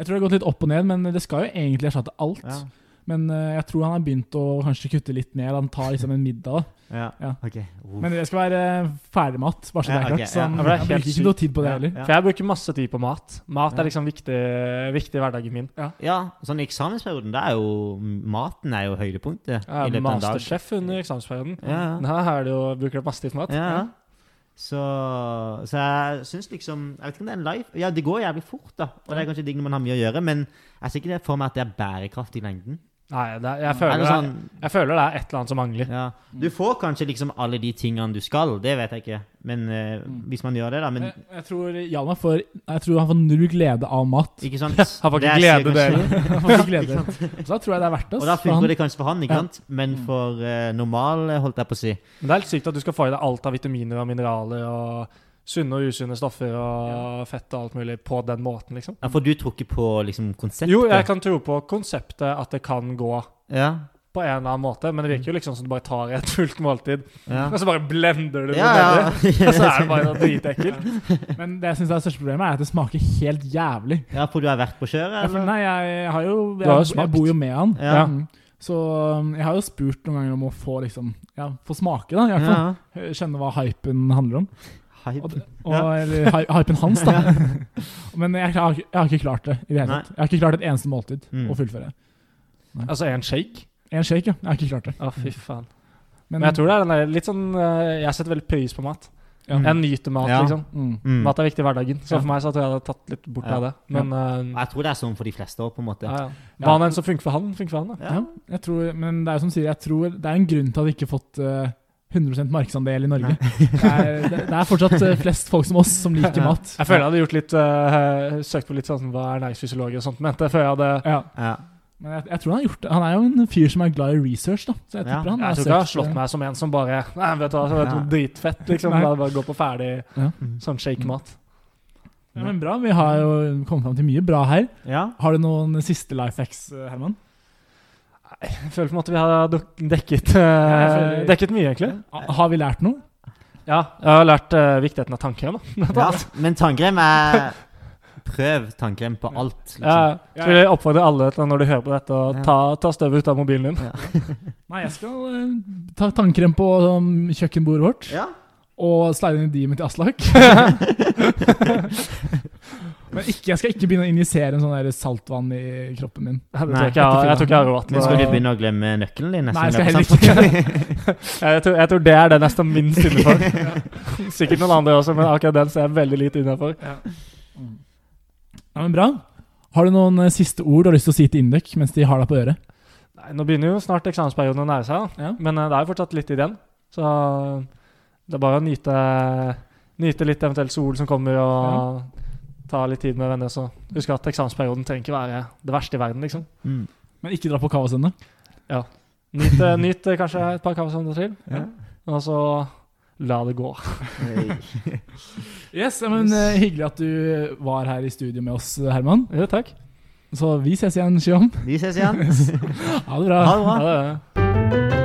Jeg tror det har gått litt opp og ned, men det skal jo egentlig erstatte alt. Ja. Men eh, jeg tror han har begynt å kanskje kutte litt ned. Han tar liksom en middag. da. Ja. Ja. Ok. Oh. Men det skal være eh, ferdigmat, bare så det Ja, er klart. ok, Så ja. han, Ja, for det er han helt bruker sykt. ikke noe tid på det Ja, heller. ja. For jeg bruker masse tid på mat. Mat Ja. er liksom viktig, viktig i hverdagen min. Ja, sånn i eksamensperioden, da er jo maten er jo høydepunktet i Jeg er løpet av en dag. masterchef under eksamensperioden. Ja, ja. Her er det jo, bruker du masse tid på mat. Ja, ja. Så, så jeg syns liksom Jeg vet ikke om det er en life Ja, det går jævlig fort, da. Og det er kanskje digg når man har mye å gjøre, men jeg ser ikke det for meg at det er bærekraftig i lengden. Nei, det, er- jeg, Er føler det det er, sånn, jeg føler det er et eller annet som mangler. ja. Du får kanskje liksom alle de tingene du skal, det vet jeg ikke. Men eh, Mm. hvis man gjør det, da. Men Jeg, jeg tror Hjalmar får Jeg tror han får null glede av mat. ikke sant? Han får Det jeg ikke glede sier kanskje- dere. Han får ikke glede. Så da tror jeg det er verdt det. Og da ass, for han. funker det kanskje for han, ikke Ja. sant? Men for eh, normal, eh, holdt jeg på å si Men det er helt sykt at du skal få i deg alt av vitaminer og mineraler og sunne og usunne stoffer og fett og alt mulig på den måten, liksom. Ja, For du tror ikke på liksom konseptet? Jo, jeg kan tro på konseptet at det kan gå Ja, på en eller annen måte, men det Mm. virker jo liksom som du bare tar et fullt måltid, ja. og så bare blender du det Ja, med ja. det. Og så er det bare noe dritekkelt. Men det jeg synes er det største problemet, er at det smaker helt jævlig. ja, for du har vært på Ja, kjøret? for Eller? nei, jeg har jo Du jeg, har jo smakt. jeg bor jo med han. Ja. Ja. Mm. Så um, jeg har jo spurt noen ganger om å få liksom Ja, få smake, da, i hvert fall. Ja. Skjønne hva hypen handler om. Hype. Og, og, Eller hy- hypen hans, da. Men jeg, har ikke- jeg har ikke klart det i det hele Nei. tatt. Jeg har ikke klart et eneste måltid Mm. å fullføre. Altså en shake. En shake, ja. Jeg har ikke klart det. Å, fy faen. Men jeg tror det er den der litt sånn eh, Jeg setter veldig pris på mat. Ja. Jeg nyter Mm. mat, Ja. liksom. mm. Mm. Mat er viktig i hverdagen. Så Ja. for meg så tror jeg jeg hadde tatt litt bort Ja. av det. Men eh, Jeg tror det er sånn for de fleste òg, på en måte. ja, ja. Hva enn som funker for han, funker for han. da. Ja. jeg tror, men det er jo som du sier, jeg tror det er en grunn til at vi ikke har fått eh, 100 markedsandel i Norge. Det er, det, det er fortsatt eh, flest folk som oss som liker Ja. mat. Jeg føler jeg hadde gjort litt eh, søkt på litt sånn som hva ernæringsfysiologer og sånt mente, før jeg hadde Ja, Ja. men jeg, jeg tror han har gjort det. Han er jo en fyr som er glad i research, da. Så jeg Ja. tipper han eh, Jeg tror ikke jeg har slått meg som en som bare Nei, vet du hva, det er Nei. dritfett, liksom. Nei. Jeg bare går på ferdig Ja. sånn shake-mat. Ja, men bra, vi har jo kommet fram til mye bra her. ja. Har du noen siste life hacks, eh, Herman? Jeg føler på en måte vi har duk- dekket, eh, jeg føler- dekket mye, egentlig. Eh. Ha- Har vi lært noe? Ja, jeg har lært eh, viktigheten av tannkrem. da. Ja, men tannkrem er Prøv tannkrem på alt. Liksom. Jeg så vil jeg oppfordre alle til når de hører på dette, Ja. å ta, ta støvet ut av mobilen din. Nei, jeg skal eh, ta tannkrem på um, kjøkkenbordet vårt. Ja. Og slide inn i dimen til Aslak. Men ikke, jeg skal ikke begynne å injisere en sånn der saltvann i kroppen min. Jeg tror Nei, ikke jeg, har- jeg tror ikke jeg har Men skal du råd til å begynne å glemme nøkkelen din? Nei, jeg i skal løpet av jeg tror, jeg tror det er det nesten minst innenfor. Sikkert noen andre også, men akkurat den ser jeg veldig lite innenfor. Ja, men bra. Har du noen eh, siste ord du har lyst til å si til Induk mens de har deg på øret? Nei, nå begynner jo snart eksamensperioden å nære seg, da. Ja. men eh, det er jo fortsatt litt igjen. Så eh, det er bare å nyte, nyte litt eventuelt sol som kommer, og ta litt tid med venner. Så husk at eksamensperioden trenger ikke være det verste i verden, liksom. Mm. Men ikke dra på Kavas ennå. Nyt, eh, nyt eh, kanskje et par kaffesonder til, Ja. og så la det gå. Yes, ja, men eh, Hyggelig at du var her i studio med oss, eh, Herman. Jo, takk. Så vi ses igjen, Shion. Vi ses igjen. Ha det bra. Ha det bra. Ha det.